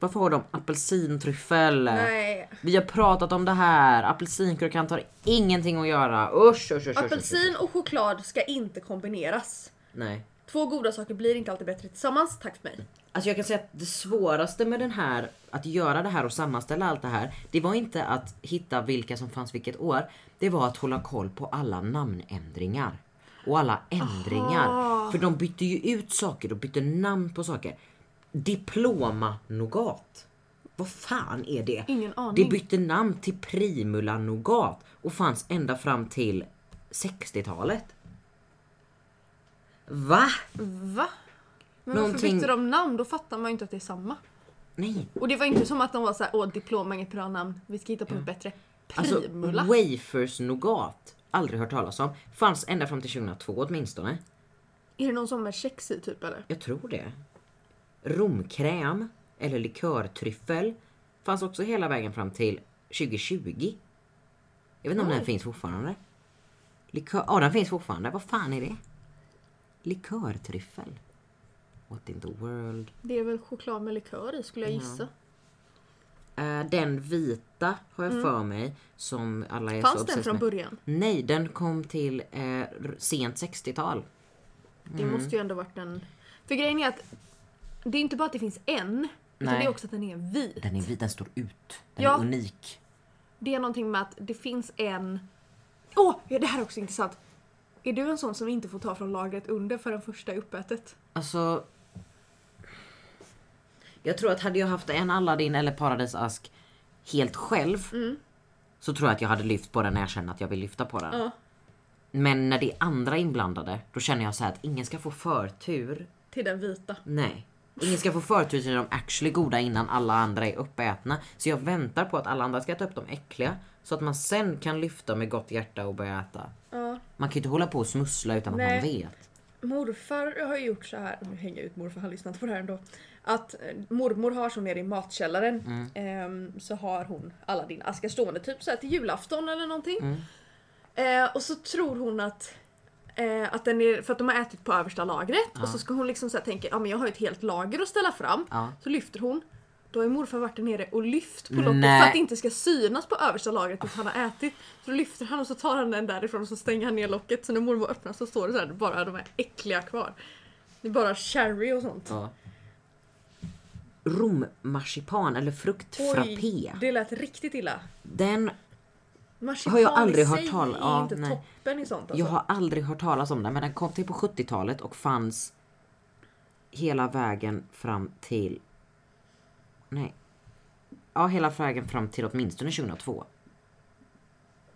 Speaker 2: Varför har de apelsintryffel?
Speaker 1: Nej.
Speaker 2: Vi har pratat om det här. Apelsinkrokan har ingenting att göra. Usch, usch, usch, usch, usch.
Speaker 1: Apelsin och choklad ska inte kombineras.
Speaker 2: Nej.
Speaker 1: Två goda saker blir inte alltid bättre tillsammans, tack för mig.
Speaker 2: Alltså jag kan säga att det svåraste med den här, att göra det här och sammanställa allt det här, det var inte att hitta vilka som fanns vilket år. Det var att hålla koll på alla namnändringar. Och alla ändringar. För de bytte ju ut saker och bytte namn på saker. Diploma-nougat. Vad fan är det?
Speaker 1: Ingen aning.
Speaker 2: Det bytte namn till Primula-nougat och fanns ända fram till 60-talet. Va?
Speaker 1: Va? Men varför
Speaker 2: Någonting-
Speaker 1: bytte de namn? Då fattar man ju inte att det är samma.
Speaker 2: Nej,
Speaker 1: Och det var inte som att de var såhär, åh diplom är inget bra namn, vi ska hitta på något bättre.
Speaker 2: Alltså
Speaker 1: Primula.
Speaker 2: wafers nougat. Aldrig hört talas om. Fanns ända fram till 2002 åtminstone.
Speaker 1: Är det någon som är kex i typ eller?
Speaker 2: Jag tror det. Romkräm eller likörtryffel fanns också hela vägen fram till 2020. Jag vet inte om den finns fortfarande. Likör... Ja, den finns fortfarande. Vad fan är det? Likörtryffel. What in the world?
Speaker 1: Det är väl choklad med likör i skulle jag gissa.
Speaker 2: Eh, den vita har jag för mig som alla är så
Speaker 1: Mm. Fanns den
Speaker 2: obsessed
Speaker 1: från
Speaker 2: med.
Speaker 1: början?
Speaker 2: Nej, den kom till eh, r- sent 60-tal.
Speaker 1: Det måste ju ändå varit en... För grejen är att det är inte bara att det finns en. Utan det
Speaker 2: Nej.
Speaker 1: är också att den är vit.
Speaker 2: Den är vit, den står ut. Den
Speaker 1: Ja.
Speaker 2: är unik.
Speaker 1: Det är någonting med att det finns en... Åh! ja, det här är också intressant. Är du en sån som inte får ta från lagret under förrän första är uppätet?
Speaker 2: Alltså... Jag tror att hade jag haft en Aladdin eller paradisask helt själv
Speaker 1: Mm.
Speaker 2: så tror jag att jag hade lyft på den när jag känner att jag vill lyfta på den.
Speaker 1: Ja.
Speaker 2: Men när det är andra inblandade då känner jag så här att ingen ska få förtur.
Speaker 1: Till den vita.
Speaker 2: Nej. Ingen ska få förtur till de actually goda innan alla andra är uppätna. Så jag väntar på att alla andra ska äta upp de äckliga så att man sen kan lyfta med gott hjärta och börja äta.
Speaker 1: Ja.
Speaker 2: Man kan ju inte hålla på och smussla utan att
Speaker 1: Nej.
Speaker 2: man vet.
Speaker 1: Morfar har ju gjort så här, nu hänger jag ut morfar, han lyssnar inte på det här ändå. Att eh, mormor har så nere i matkällaren ehm, så har hon alla din askar stående typ så här till julafton eller någonting. Eh, och så tror hon att, eh, att den är, för att de har ätit på översta lagret och så ska hon liksom så här tänka, ja men jag har ju ett helt lager att ställa fram.
Speaker 2: Ja.
Speaker 1: Så lyfter hon. Då har morfar varit där nere och lyft på
Speaker 2: Nej.
Speaker 1: locket för att det inte ska synas på översta lagret att han har ätit. Så då lyfter han och så tar han den därifrån och så stänger han ner locket. Så när mormor öppnar så står det så här, bara de här äckliga kvar. Det är bara cherry och sånt.
Speaker 2: Ja. Rommarsipan eller fruktfrappé.
Speaker 1: det lät riktigt illa.
Speaker 2: Den,
Speaker 1: Marsipan
Speaker 2: Har jag aldrig
Speaker 1: i sig
Speaker 2: hört tal-
Speaker 1: är
Speaker 2: ja,
Speaker 1: inte
Speaker 2: nej.
Speaker 1: toppen i sånt alltså.
Speaker 2: jag har aldrig hört talas om den men den kom till på 70-talet och fanns hela vägen fram till... Nej. Ja, hela vägen fram till åtminstone 2002.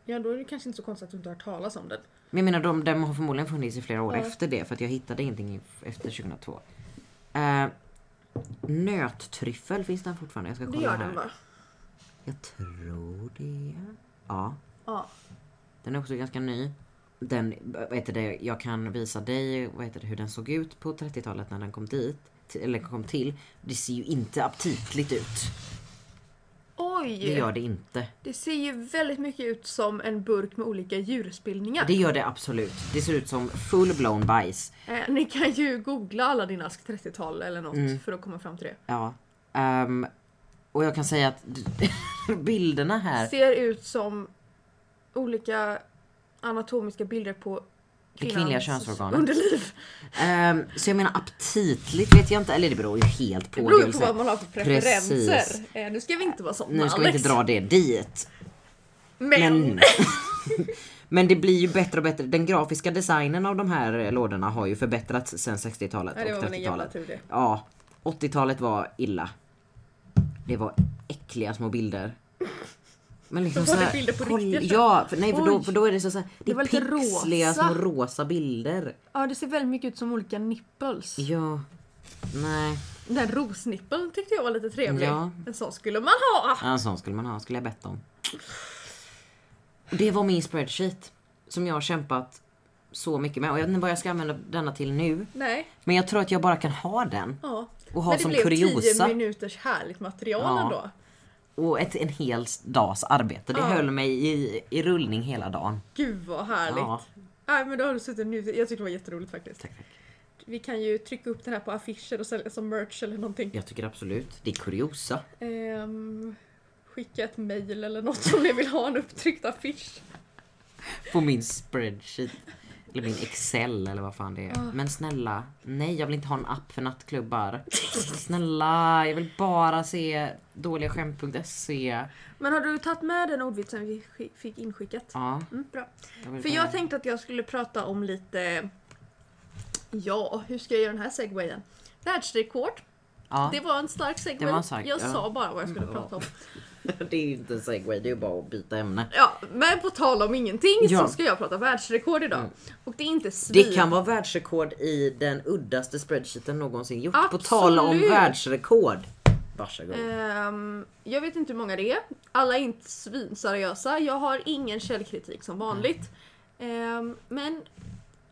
Speaker 1: Ja då är det kanske inte så konstigt att du inte har hört talas om den.
Speaker 2: Men jag menar de, de har förmodligen funnits i flera år
Speaker 1: Ja.
Speaker 2: efter det för att jag hittade ingenting i- efter 2002. Eh, nöttryffel finns den fortfarande. Jag ska kolla
Speaker 1: Det gör
Speaker 2: här.
Speaker 1: den va?
Speaker 2: Jag tror det. Ja.
Speaker 1: Ja.
Speaker 2: Den är också ganska ny. Den, vad heter det, jag kan visa dig vad heter det, hur den såg ut på 30-talet när den kom dit. t- Eller kom till. Det ser ju inte aptitligt ut.
Speaker 1: Oj!
Speaker 2: Det gör det inte.
Speaker 1: Det ser ju väldigt mycket ut som en burk med olika djurspillningar.
Speaker 2: Det gör det absolut. Det ser ut som full-blown bajs.
Speaker 1: Eh, ni kan ju googla alla din ask 30-tal eller något
Speaker 2: Mm.
Speaker 1: för att komma fram till det.
Speaker 2: Ja. Ehm, och jag kan säga att bilderna här.
Speaker 1: Ser ut som olika anatomiska bilder på
Speaker 2: Det
Speaker 1: kvinnans
Speaker 2: kvinnliga könsorganet.
Speaker 1: underliv.
Speaker 2: ehm, så jag menar aptitligt vet jag inte. Eller det beror ju helt på.
Speaker 1: Det
Speaker 2: jag
Speaker 1: beror
Speaker 2: vill
Speaker 1: på
Speaker 2: säga.
Speaker 1: vad man har för
Speaker 2: Precis.
Speaker 1: preferenser. Eh, nu ska vi inte vara såna
Speaker 2: Nu ska vi
Speaker 1: Alex.
Speaker 2: inte dra det dit.
Speaker 1: Men,
Speaker 2: Men, men det blir ju bättre och bättre. Den grafiska designen av de här eh, lådorna har ju förbättrats sen 60-talet
Speaker 1: Nej, det
Speaker 2: och
Speaker 1: var väl en jävla
Speaker 2: 30-talet.
Speaker 1: tur det.
Speaker 2: Ja, 80-talet var illa. Det var äckliga små bilder. Men liksom
Speaker 1: Då var det
Speaker 2: såhär-
Speaker 1: bilder på
Speaker 2: koll-
Speaker 1: riktiga köp.
Speaker 2: Ja, för, nej för då,
Speaker 1: Oj.
Speaker 2: för då är det så såhär, det,
Speaker 1: var
Speaker 2: är
Speaker 1: lite
Speaker 2: pixliga
Speaker 1: rosa.
Speaker 2: små rosa bilder.
Speaker 1: Ja, det ser väldigt mycket ut som olika nipples.
Speaker 2: Ja, nej.
Speaker 1: Den där rosnippeln tyckte jag var lite trevlig.
Speaker 2: Ja.
Speaker 1: En sån skulle man ha!
Speaker 2: Ja, En sån skulle man ha, skulle jag bett om. Och Det var min spreadsheet som jag har kämpat så mycket med och jag vet inte vad jag ska använda denna till nu.
Speaker 1: Nej,
Speaker 2: Men jag tror att jag bara kan ha den
Speaker 1: ja.
Speaker 2: och ha
Speaker 1: Men det
Speaker 2: som
Speaker 1: blev
Speaker 2: kuriosa
Speaker 1: 10 minuters härligt material
Speaker 2: Ja.
Speaker 1: ändå.
Speaker 2: och ett, en hel dags arbete. Det
Speaker 1: Ja.
Speaker 2: höll mig i, i rullning hela dagen.
Speaker 1: Gud vad härligt.
Speaker 2: Ja.
Speaker 1: Nej men då har du suttit nu. Jag tyckte det var jätteroligt faktiskt.
Speaker 2: Tack, tack.
Speaker 1: Vi kan ju trycka upp det här på affischer och sälja som merch eller någonting.
Speaker 2: Jag tycker absolut det är kuriosa.
Speaker 1: Ehm, skicka ett mail eller något om ni vill ha en upptryckt affisch.
Speaker 2: På min spreadsheet. Eller min excel eller vad fan det är.
Speaker 1: Ah.
Speaker 2: Men snälla, nej jag vill inte ha en app för nattklubbar. Snälla, jag vill bara se dåligaskämt.se.
Speaker 1: Men har du tagit med den ordvitsen vi sk- fick inskickat?
Speaker 2: Ja.
Speaker 1: Mm, bra.
Speaker 2: Jag vill
Speaker 1: För
Speaker 2: bara-
Speaker 1: jag tänkte att jag skulle prata om lite... Ja, hur ska jag göra den här segwayen? Världsrekord.
Speaker 2: ja.
Speaker 1: Det var en stark segway.
Speaker 2: Det var en stark,
Speaker 1: jag
Speaker 2: ja. Mm.
Speaker 1: sa bara vad jag skulle
Speaker 2: Ja.
Speaker 1: prata om.
Speaker 2: Det är ju inte en segway, det är ju bara att byta ämne.
Speaker 1: Ja, men på tal om ingenting
Speaker 2: Ja. Mm.
Speaker 1: så ska jag prata världsrekord idag. Och det är inte svin...
Speaker 2: Det kan vara världsrekord i den uddaste spreadsheeten någonsin gjort.
Speaker 1: Absolut.
Speaker 2: På tal om världsrekord. Varsågod.
Speaker 1: Ehm, jag vet inte hur många det är. Alla är inte svinseriösa. Jag har ingen källkritik som vanligt. Ehm, men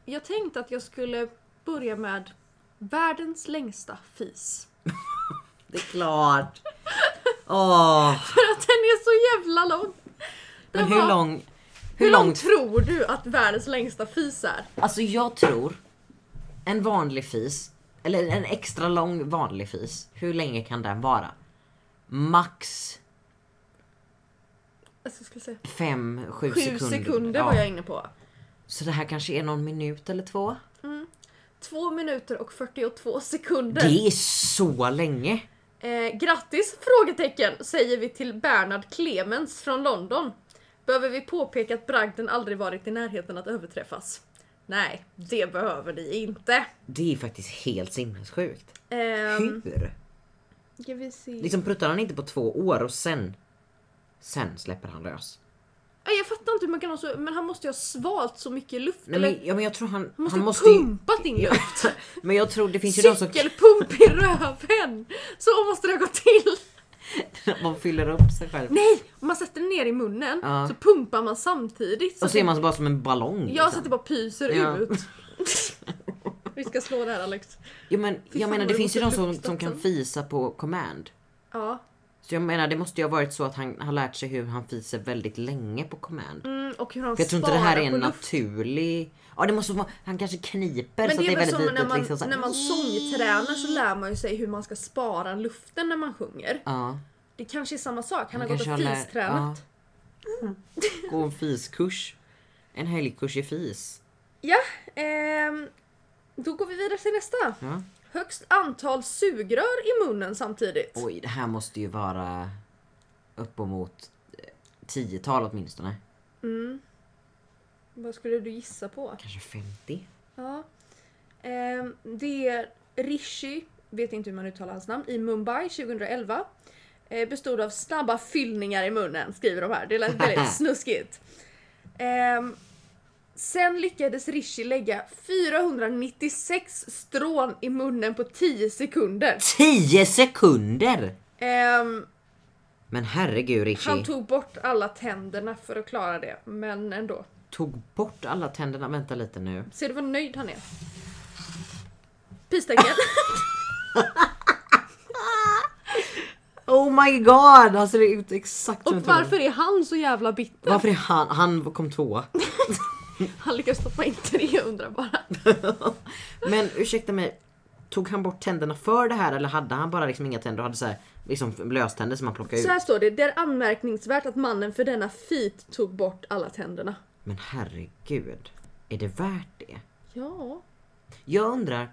Speaker 1: jag tänkte att jag skulle börja med världens längsta fis.
Speaker 2: Det är klart. Åh.
Speaker 1: För att den är så jävla lång! Den
Speaker 2: Men hur
Speaker 1: var-
Speaker 2: lång...
Speaker 1: Hur lång tror du att världens längsta fis är?
Speaker 2: Alltså jag tror en vanlig fis, eller en extra lång vanlig fis, hur länge kan den vara? Max
Speaker 1: Alltså, jag skulle säga.
Speaker 2: 5-7
Speaker 1: Sju sekunder,
Speaker 2: sekunder.
Speaker 1: var
Speaker 2: Ja.
Speaker 1: jag inne på.
Speaker 2: Så det här kanske är någon minut eller två?
Speaker 1: Två minuter och 42 sekunder.
Speaker 2: Det är så länge!
Speaker 1: Eh, grattis? Frågetecken säger vi till Bernhard Clemens från London. Behöver vi påpeka att bragden aldrig varit i närheten att överträffas? Nej, det behöver ni inte.
Speaker 2: Det är faktiskt helt sinnessjukt.
Speaker 1: Ehm,
Speaker 2: Hur?
Speaker 1: ska vi se.
Speaker 2: Liksom pruttar han inte på två år och sen... Sen släpper han lös.
Speaker 1: Nej, jag fattar inte hur man kan ha så, men han måste ju ha svalt så mycket luft.
Speaker 2: Nej,
Speaker 1: eller?
Speaker 2: men, ja, men jag tror han...
Speaker 1: han måste
Speaker 2: han
Speaker 1: ha
Speaker 2: måste ju,
Speaker 1: pumpat in luft.
Speaker 2: men jag tror det finns ju de som...
Speaker 1: Cykelpump i röven! Så måste det gå till!
Speaker 2: Man fyller upp sig själv.
Speaker 1: Nej! Om man sätter den ner i munnen
Speaker 2: Ja.
Speaker 1: så pumpar man samtidigt. Så
Speaker 2: Och så är man så bara som en ballong.
Speaker 1: att,
Speaker 2: liksom.
Speaker 1: jag sätter bara pyser
Speaker 2: Ja.
Speaker 1: ut. Vi ska slå det här Alex.
Speaker 2: Ja, men,
Speaker 1: Fy
Speaker 2: jag
Speaker 1: fan,
Speaker 2: menar
Speaker 1: vad
Speaker 2: det
Speaker 1: det
Speaker 2: finns ju de
Speaker 1: måste
Speaker 2: som,
Speaker 1: lukta
Speaker 2: som kan
Speaker 1: sen.
Speaker 2: fisa på command.
Speaker 1: Ja.
Speaker 2: Så jag menar det måste ju ha varit så att han har lärt sig hur han fiser väldigt länge på command.
Speaker 1: Mm, och hur han
Speaker 2: För jag tror inte det här
Speaker 1: sparar
Speaker 2: är
Speaker 1: på
Speaker 2: en
Speaker 1: luft.
Speaker 2: naturlig... Ja det måste vara... Han kanske kniper
Speaker 1: Men
Speaker 2: så
Speaker 1: det
Speaker 2: att
Speaker 1: är väl
Speaker 2: väldigt
Speaker 1: som
Speaker 2: litet
Speaker 1: när man,
Speaker 2: liksom. så här-
Speaker 1: när man sångtränar så lär man ju sig hur man ska spara luften när man sjunger.
Speaker 2: Ja.
Speaker 1: Det kanske är samma sak, han, har gått
Speaker 2: kanske
Speaker 1: och
Speaker 2: lär-
Speaker 1: fistränat. Mm.
Speaker 2: Ja. Gå en fiskurs. En helgkurs i fis.
Speaker 1: Ja, ehm, då går vi vidare till nästa.
Speaker 2: Ja.
Speaker 1: Högst antal sugrör i munnen samtidigt.
Speaker 2: Oj det här måste ju vara uppemot eh, tiotal åtminstone.
Speaker 1: Mm. Vad skulle du gissa på?
Speaker 2: Kanske 50.
Speaker 1: Ja. Ehm, det är Rishi, vet inte hur man uttalar hans namn, i Mumbai 2011. Eh, bestod av snabba fyllningar i munnen, skriver de här. Det lät väldigt snuskigt. Ehm, sen lyckades Rishi lägga 496 strån i munnen på 10 sekunder.
Speaker 2: 10 sekunder!
Speaker 1: Ehm,
Speaker 2: Men herregud Rishi.
Speaker 1: han tog bort alla tänderna för att klara det, men ändå.
Speaker 2: tog bort alla tänderna. Vänta lite nu.
Speaker 1: Ser du vad nöjd han är? Peace-tecken.
Speaker 2: Oh my god! Han ser ut exakt som
Speaker 1: Och
Speaker 2: en troll.
Speaker 1: varför är han så jävla bitter?
Speaker 2: Varför är han... Han kom tvåa.
Speaker 1: Han lyckas stoppa in 300 bara.
Speaker 2: Men ursäkta mig. Tog han bort tänderna för det här eller hade han bara liksom inga tänder och hade så här, liksom löständer som han plockade ut?
Speaker 1: Så här står det, det är anmärkningsvärt att mannen för denna feat tog bort alla tänderna.
Speaker 2: Men herregud. Är det värt det?
Speaker 1: Ja.
Speaker 2: Jag undrar.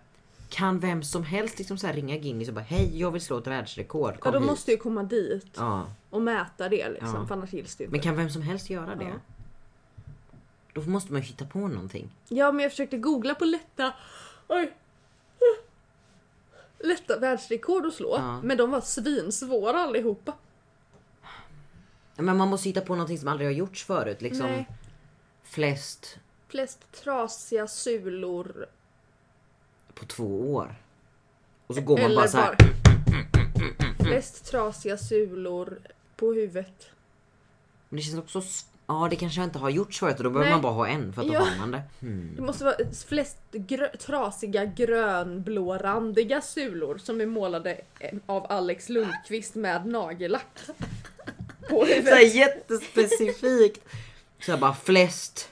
Speaker 2: Kan vem som helst liksom så här ringa Guinness och bara hej jag vill slå ett världsrekord.
Speaker 1: ja
Speaker 2: Kom
Speaker 1: de
Speaker 2: hit."
Speaker 1: måste ju komma dit
Speaker 2: Ja.
Speaker 1: och mäta det liksom,
Speaker 2: Ja.
Speaker 1: för annars gills det ju inte.
Speaker 2: Men kan vem som helst göra det?
Speaker 1: Ja.
Speaker 2: Då måste man ju hitta på någonting.
Speaker 1: Ja men jag försökte googla på lätta... Oj. Lätta världsrekord att slå,
Speaker 2: Ja.
Speaker 1: men de var svinsvåra allihopa.
Speaker 2: Men man måste hitta på någonting som aldrig har gjorts förut. Liksom
Speaker 1: Nej.
Speaker 2: flest
Speaker 1: Flest trasiga sulor
Speaker 2: på två år. Och så går man
Speaker 1: eller
Speaker 2: bara
Speaker 1: bara,
Speaker 2: så här.
Speaker 1: Flest trasiga sulor på huvudet.
Speaker 2: Men det känns också... s- Ja det kanske inte har gjorts förut och då behöver
Speaker 1: Nej.
Speaker 2: man bara ha en för att då
Speaker 1: Ja.
Speaker 2: har man det. Hmm.
Speaker 1: Det måste vara flest grö- trasiga grönblårandiga sulor som är målade eh, av Alex Lundqvist med nagellack. På
Speaker 2: Så här
Speaker 1: huvudet.
Speaker 2: jättespecifikt. Så här bara flest,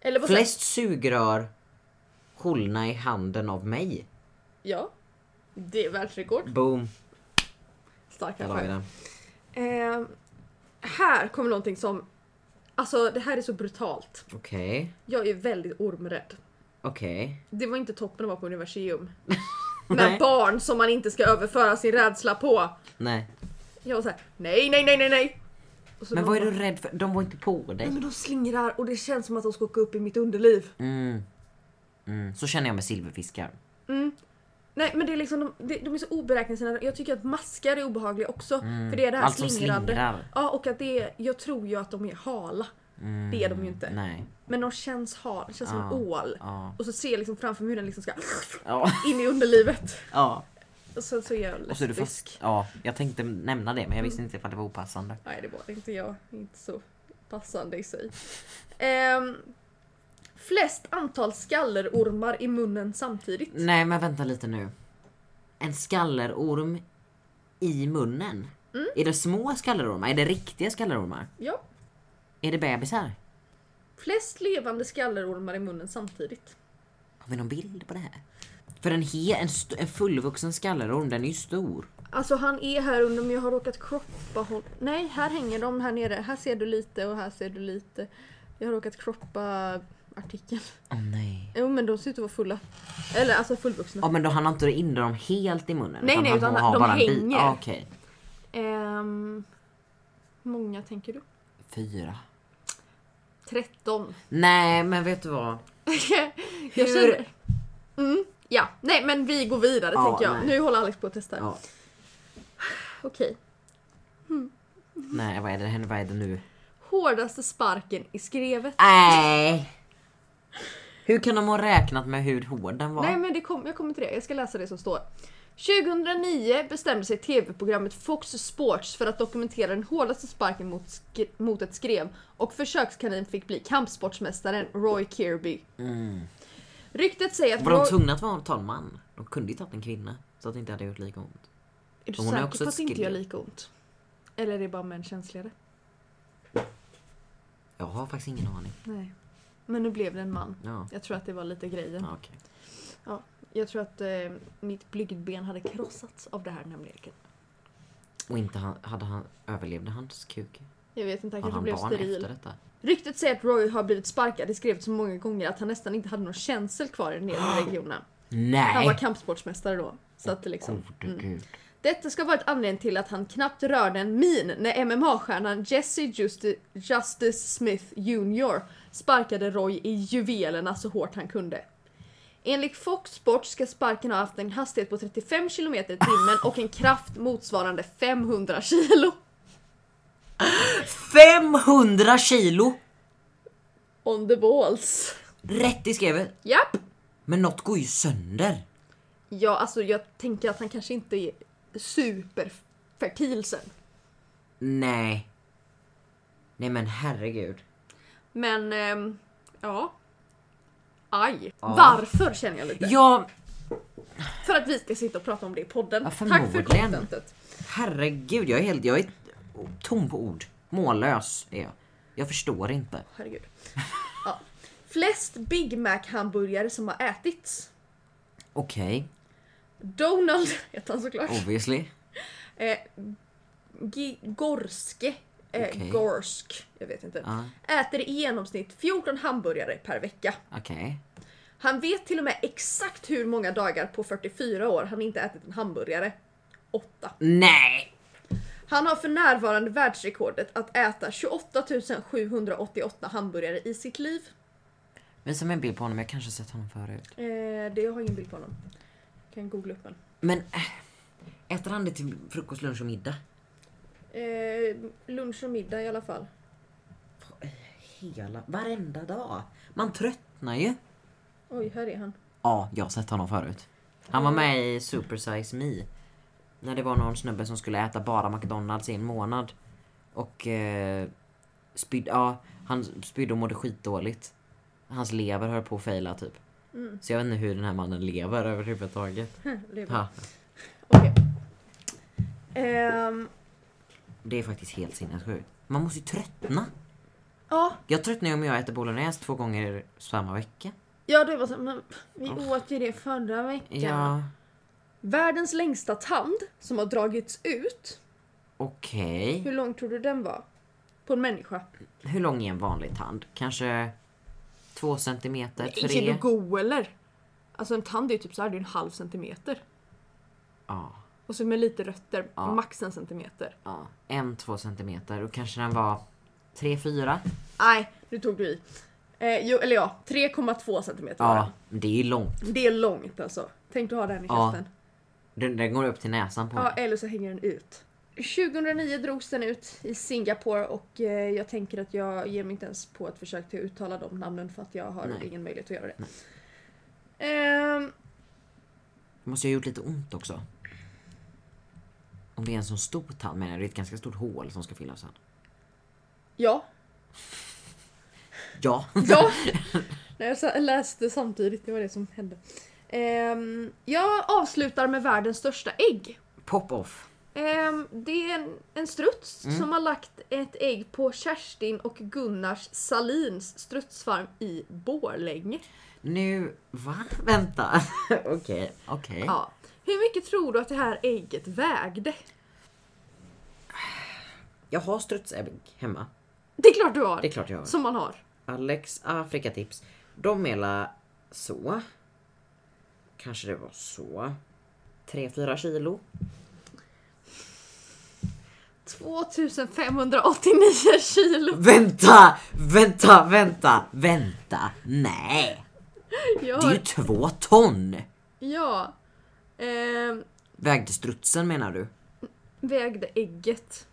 Speaker 1: Eller vad säger
Speaker 2: flest sugrör hållna i handen av mig.
Speaker 1: Ja. Det är världsrekord.
Speaker 2: Boom.
Speaker 1: Starka
Speaker 2: Där har vi
Speaker 1: skämt.
Speaker 2: den.
Speaker 1: Eh, här kommer någonting som... Alltså det här är så brutalt.
Speaker 2: Okej.
Speaker 1: Jag är väldigt ormrädd.
Speaker 2: Okej.
Speaker 1: Det var inte toppen att vara på universium.
Speaker 2: Nej.
Speaker 1: Med barn som man inte ska överföra sin rädsla på.
Speaker 2: Nej.
Speaker 1: Jag var såhär, nej, nej, nej, nej, nej. Och så
Speaker 2: Men
Speaker 1: de
Speaker 2: vad är
Speaker 1: bara-
Speaker 2: du rädd för? De var inte på
Speaker 1: Nej
Speaker 2: dig.
Speaker 1: men de slingrar och det känns som att de ska åka upp i mitt underliv.
Speaker 2: Mm. Mm. Så känner jag med silverfiskar.
Speaker 1: Nej men det är liksom, de, de är så oberäkneliga. Jag tycker att maskar är obehagliga också. För det är det här
Speaker 2: Mm. Allt som
Speaker 1: slingrande.
Speaker 2: slingrar.
Speaker 1: Ja och att det är, jag tror ju att de är hala. Det är de ju inte.
Speaker 2: Mm, Nej. Ah,
Speaker 1: Men de känns hala, det känns som en
Speaker 2: Ja.
Speaker 1: ål.
Speaker 2: Ja.
Speaker 1: Och så ser jag liksom framför mig hur den liksom ska
Speaker 2: Ja.
Speaker 1: in i underlivet.
Speaker 2: ja.
Speaker 1: Och sen så är jag
Speaker 2: Och så är du
Speaker 1: lesbisk.
Speaker 2: fast. Ja, jag tänkte nämna det men jag visste inte ifall det var opassande.
Speaker 1: Nej det var det inte jag. Inte så passande i sig. Ehm, flest antal skallerormar i munnen samtidigt.
Speaker 2: Nej men vänta lite nu. En skallerorm i munnen?
Speaker 1: Mm.
Speaker 2: Är det små skallerormar? Är det riktiga skallerormar?
Speaker 1: Ja.
Speaker 2: Är det bebisar?
Speaker 1: Flest levande skallerormar i munnen samtidigt.
Speaker 2: Har vi någon bild på det här? För en, he, en, st- en fullvuxen skallerorm den är ju stor.
Speaker 1: Alltså han är här under men jag har råkat kroppa honom. Nej, här hänger de här nere. Här ser du lite och här ser du lite. Jag har råkat kroppa artikeln.
Speaker 2: Åh nej.
Speaker 1: Jo men de ser ut att vara fulla. Eller alltså fullvuxna.
Speaker 2: Ja men då hann han inte in dem helt i munnen?
Speaker 1: Nej, nej,
Speaker 2: han
Speaker 1: utan
Speaker 2: får ha
Speaker 1: de
Speaker 2: bara en bit.
Speaker 1: hänger.
Speaker 2: Ja, Okej,
Speaker 1: Ehm, hur många tänker du?
Speaker 2: fyra.
Speaker 1: 13.
Speaker 2: Nej men vet du vad?
Speaker 1: Jag
Speaker 2: Hur-
Speaker 1: känner... Mm, ja, nej men vi går vidare
Speaker 2: Ja,
Speaker 1: tänker jag.
Speaker 2: nej.
Speaker 1: Nu håller Alex på att testa.
Speaker 2: Ja.
Speaker 1: Okej.
Speaker 2: Nej vad är det, vad är det nu?
Speaker 1: Hårdaste sparken i skrevet.
Speaker 2: Nej! Hur kan de ha räknat med hur hård den var?
Speaker 1: Nej men det kom, jag kommer till det, jag ska läsa det som står. 2009 bestämde sig tv-programmet Fox Sports för att dokumentera den hårdaste sparken mot, sk- mot ett skrev och försökskanin fick bli kampsportsmästaren Roy Kirby. Ryktet säger att
Speaker 2: Mm. Var de
Speaker 1: Roy...
Speaker 2: tvungna att vara- ta en man? De kunde ju tagit en kvinna så att det inte hade gjort lika ont.
Speaker 1: Är du
Speaker 2: Hon är
Speaker 1: säker
Speaker 2: också
Speaker 1: på att det inte gör
Speaker 2: skrev.
Speaker 1: lika ont? Eller är det bara män känsligare?
Speaker 2: Jag har faktiskt ingen aning.
Speaker 1: Nej. Men nu blev det en man.
Speaker 2: Ja,
Speaker 1: Jag tror att det var lite grejen.
Speaker 2: ja okej.
Speaker 1: Jag tror att eh, mitt blygdben hade krossats av det här nämligen.
Speaker 2: Och inte han, hade han, överlevde hans kuk?
Speaker 1: Jag vet inte, han kanske
Speaker 2: Hade han
Speaker 1: blev
Speaker 2: barn
Speaker 1: steril.
Speaker 2: efter detta?
Speaker 1: Ryktet säger att Roy har blivit sparkad i skrevet så många gånger att han nästan inte hade någon känsel kvar i den nedre regionen. Han var
Speaker 2: Nej!
Speaker 1: kampsportsmästare då. Så att det liksom,
Speaker 2: Gode
Speaker 1: mm.
Speaker 2: gud.
Speaker 1: Detta ska ha varit anledningen till att han knappt rörde en min när MMA-stjärnan Jesse Justi- Justice Smith Jr sparkade Roy i juvelerna så hårt han kunde. Enligt Fox Sports ska sparken ha haft en hastighet på 35 km i timmen och en kraft motsvarande 500 kilo.
Speaker 2: 500 kilo!
Speaker 1: On the balls.
Speaker 2: Rätt i skrevet.
Speaker 1: Japp!
Speaker 2: Men något går ju sönder.
Speaker 1: Ja, alltså jag tänker att han kanske inte är superfertil sen.
Speaker 2: Nej. Nej men herregud.
Speaker 1: Men, ehm, ja. Aj.
Speaker 2: Ja.
Speaker 1: Varför känner jag lite.
Speaker 2: Ja,
Speaker 1: För att vi ska sitta och prata om det i podden.
Speaker 2: Ja,
Speaker 1: Tack för
Speaker 2: förmodligen.
Speaker 1: contentet.
Speaker 2: herregud. Jag är helt, jag är tom på ord. Mållös är jag. Jag förstår inte.
Speaker 1: Herregud. Ja. Flest Big Mac-hamburgare som har ätits.
Speaker 2: Okej,
Speaker 1: Donald heter han såklart.
Speaker 2: obviously.
Speaker 1: Eh, G- Gorske. Eh,
Speaker 2: Okej.
Speaker 1: Gorsk. Jag vet inte.
Speaker 2: Ja,
Speaker 1: Äter i genomsnitt 14 hamburgare per vecka.
Speaker 2: okej.
Speaker 1: Han vet till och med exakt hur många dagar på 44 år han inte ätit en hamburgare. Åtta.
Speaker 2: Nej!
Speaker 1: Han har för närvarande världsrekordet att äta 28 788 hamburgare i sitt liv.
Speaker 2: Visa mig en bild på honom, jag kanske har sett honom förut.
Speaker 1: Eh, det jag har ingen bild på honom. Kan googla upp honom.
Speaker 2: Men äh, äter han det till frukost, lunch och middag?
Speaker 1: Eh, lunch och middag i alla fall.
Speaker 2: Hela, varenda dag. Man tröttnar ju.
Speaker 1: Oj, här är han.
Speaker 2: Ja, jag har sett honom förut. Han var med i Super Size Me. När det var någon snubbe som skulle äta bara McDonalds i en månad. Och eh, spydde, ja, han spydde och mådde skitdåligt. Hans lever höll på att faila typ.
Speaker 1: Mm.
Speaker 2: Så jag vet inte hur den här mannen lever överhuvudtaget.
Speaker 1: Det är bra.
Speaker 2: Ha,
Speaker 1: Okej. Ehm,
Speaker 2: det är faktiskt helt sinnessjukt. Man måste ju tröttna.
Speaker 1: ja,
Speaker 2: Jag tröttnar ju om jag äter bolognese två gånger samma vecka.
Speaker 1: ja, det var så. Men vi åt ju det förra veckan.
Speaker 2: Ja,
Speaker 1: Världens längsta tand som har dragits ut.
Speaker 2: okej.
Speaker 1: Hur lång tror du den var? På en människa?
Speaker 2: Hur lång är en vanlig tand? Kanske två centimeter?
Speaker 1: Är du
Speaker 2: Tre?
Speaker 1: go eller? Alltså en tand är ju typ så här, det är ju en halv centimeter.
Speaker 2: Ja.
Speaker 1: Och så med lite rötter,
Speaker 2: Ja.
Speaker 1: max en centimeter.
Speaker 2: ja, en, två centimeter och kanske den var tre, fyra.
Speaker 1: Nej, nu tog du i. Eh, jo, eller ja, 3,2 centimeter var
Speaker 2: Ja, men det är ju långt.
Speaker 1: den. Det är långt alltså. Tänk du ha den i
Speaker 2: Ja.
Speaker 1: käften.
Speaker 2: Den, den går upp till näsan på
Speaker 1: Ja,
Speaker 2: mig.
Speaker 1: eller så hänger den ut. 2009 drogs den ut i Singapore och eh, jag tänker att jag ger mig inte ens på ett försök till att uttala de namnen för att jag har
Speaker 2: Nej.
Speaker 1: ingen möjlighet att göra det. Ehm,
Speaker 2: Det måste ju ha gjort lite ont också. Om det är en sån stor tand menar jag, det är ett ganska stort hål som ska fyllas sen.
Speaker 1: ja,
Speaker 2: Ja,
Speaker 1: Ja! Nej, jag sa- läste samtidigt, det var det som hände. Ehm, jag avslutar med världens största ägg.
Speaker 2: pop-off.
Speaker 1: Ehm, det är en, en struts
Speaker 2: Mm.
Speaker 1: som har lagt ett ägg på Kerstin och Gunnars Salins strutsfarm i Borlänge.
Speaker 2: Nu, va? Vänta. Okej, okej.
Speaker 1: Ja. Hur mycket tror du att det här ägget vägde?
Speaker 2: Jag har strutsägg hemma.
Speaker 1: Det är klart du har!
Speaker 2: Det är klart jag har.
Speaker 1: Som man har.
Speaker 2: Alex Afrikatips. De är la så. Kanske det var så. 3-4 kilo.
Speaker 1: 2589 kilo.
Speaker 2: Vänta! Vänta, vänta, vänta! Nej!
Speaker 1: Jag
Speaker 2: Det är
Speaker 1: har,
Speaker 2: ju två ton!
Speaker 1: ja. Ehm,
Speaker 2: Vägde strutsen menar du?
Speaker 1: vägde ägget.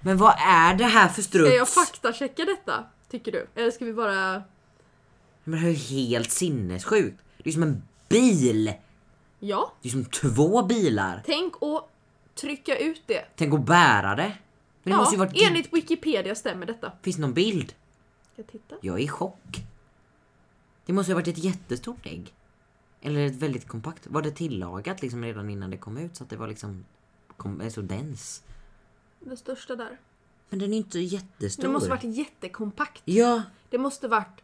Speaker 2: Men vad är det här för struts?
Speaker 1: Ska jag faktachecka detta? Tycker du? Eller ska vi bara...
Speaker 2: Men det är ju helt sinnessjukt. Det är ju som en bil!
Speaker 1: Ja.
Speaker 2: Det är som två bilar.
Speaker 1: Tänk att trycka ut det.
Speaker 2: Tänk att bära det. Men det
Speaker 1: Ja,
Speaker 2: måste ju varit...
Speaker 1: enligt Wikipedia stämmer detta.
Speaker 2: Finns det någon bild?
Speaker 1: Ska jag titta?
Speaker 2: Jag är i chock. Det måste ju ha varit ett jättestort ägg. Eller ett väldigt kompakt. Var det tillagat liksom redan innan det kom ut så att det var liksom kom, eh, så dens?
Speaker 1: Den största där.
Speaker 2: Men den är inte jättestor.
Speaker 1: Det måste varit jättekompakt.
Speaker 2: Ja.
Speaker 1: Det måste varit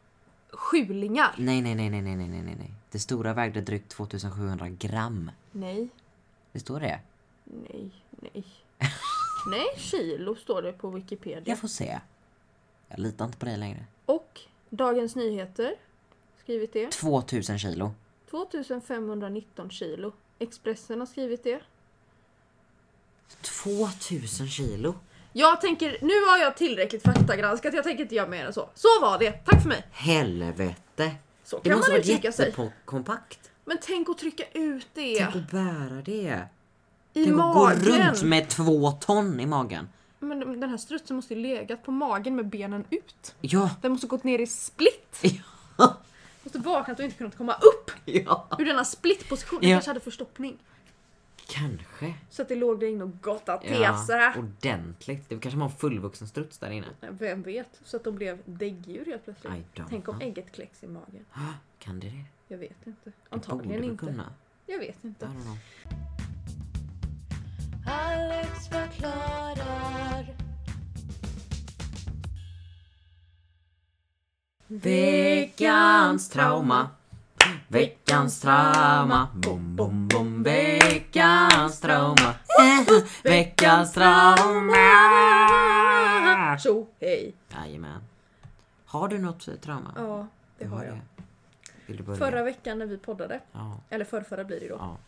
Speaker 1: sjulingar.
Speaker 2: Nej, nej, nej, nej, nej, nej, nej, nej, nej. Det stora vägde drygt 2700 gram.
Speaker 1: Nej,
Speaker 2: Det står det?
Speaker 1: nej, nej. Nej, kilo står det på Wikipedia.
Speaker 2: Jag får se. Jag litar inte på dig längre.
Speaker 1: Och Dagens Nyheter skrivit det.
Speaker 2: 2000 kilo.
Speaker 1: 2519 kilo. Expressen har skrivit det.
Speaker 2: 2000 kilo?
Speaker 1: Jag tänker, nu har jag tillräckligt faktagranskat, jag tänker inte göra mer än så. Så var det, tack för mig!
Speaker 2: Helvete!
Speaker 1: Så
Speaker 2: Det
Speaker 1: kan
Speaker 2: måste
Speaker 1: man
Speaker 2: ha varit
Speaker 1: uttrycka sig.
Speaker 2: jättekompakt.
Speaker 1: Men tänk att trycka ut det
Speaker 2: Tänk att bära det.
Speaker 1: i
Speaker 2: Tänk att gå runt
Speaker 1: magen!
Speaker 2: med två ton i magen.
Speaker 1: Men den här strutsen måste ju legat på magen med benen ut.
Speaker 2: Ja,
Speaker 1: Den måste gått ner i split.
Speaker 2: ja,
Speaker 1: Måste vaknat och inte kunnat komma upp
Speaker 2: ja.
Speaker 1: ur denna split-position. Den
Speaker 2: Ja.
Speaker 1: kanske hade förstoppning.
Speaker 2: Kanske.
Speaker 1: Så att det låg där inne och gottade till
Speaker 2: Ja,
Speaker 1: sig.
Speaker 2: ordentligt. Det kanske var en fullvuxen struts där inne.
Speaker 1: Vem vet? Så att de blev däggdjur helt plötsligt.
Speaker 2: I don't
Speaker 1: Tänk om
Speaker 2: know.
Speaker 1: ägget kläcks i magen.
Speaker 2: Ah, Kan det det?
Speaker 1: Jag vet inte.
Speaker 2: Det borde
Speaker 1: Antagligen
Speaker 2: väl
Speaker 1: inte.
Speaker 2: kunna.
Speaker 1: Jag vet
Speaker 2: I
Speaker 1: inte.
Speaker 2: don't know.
Speaker 4: Alex förklarar.
Speaker 2: Veckans trauma. Veckans trauma. Bom, bom, bom. Veckans trauma. Veckans trauma.
Speaker 1: Ah, Tjo hej!
Speaker 2: Jajamän. Har du något eh, trauma?
Speaker 1: Ja, det
Speaker 2: Du
Speaker 1: har jag.
Speaker 2: Vill du börja?
Speaker 1: Förra veckan när vi poddade,
Speaker 2: Ja,
Speaker 1: eller förrförra blir det ju då,
Speaker 2: ja,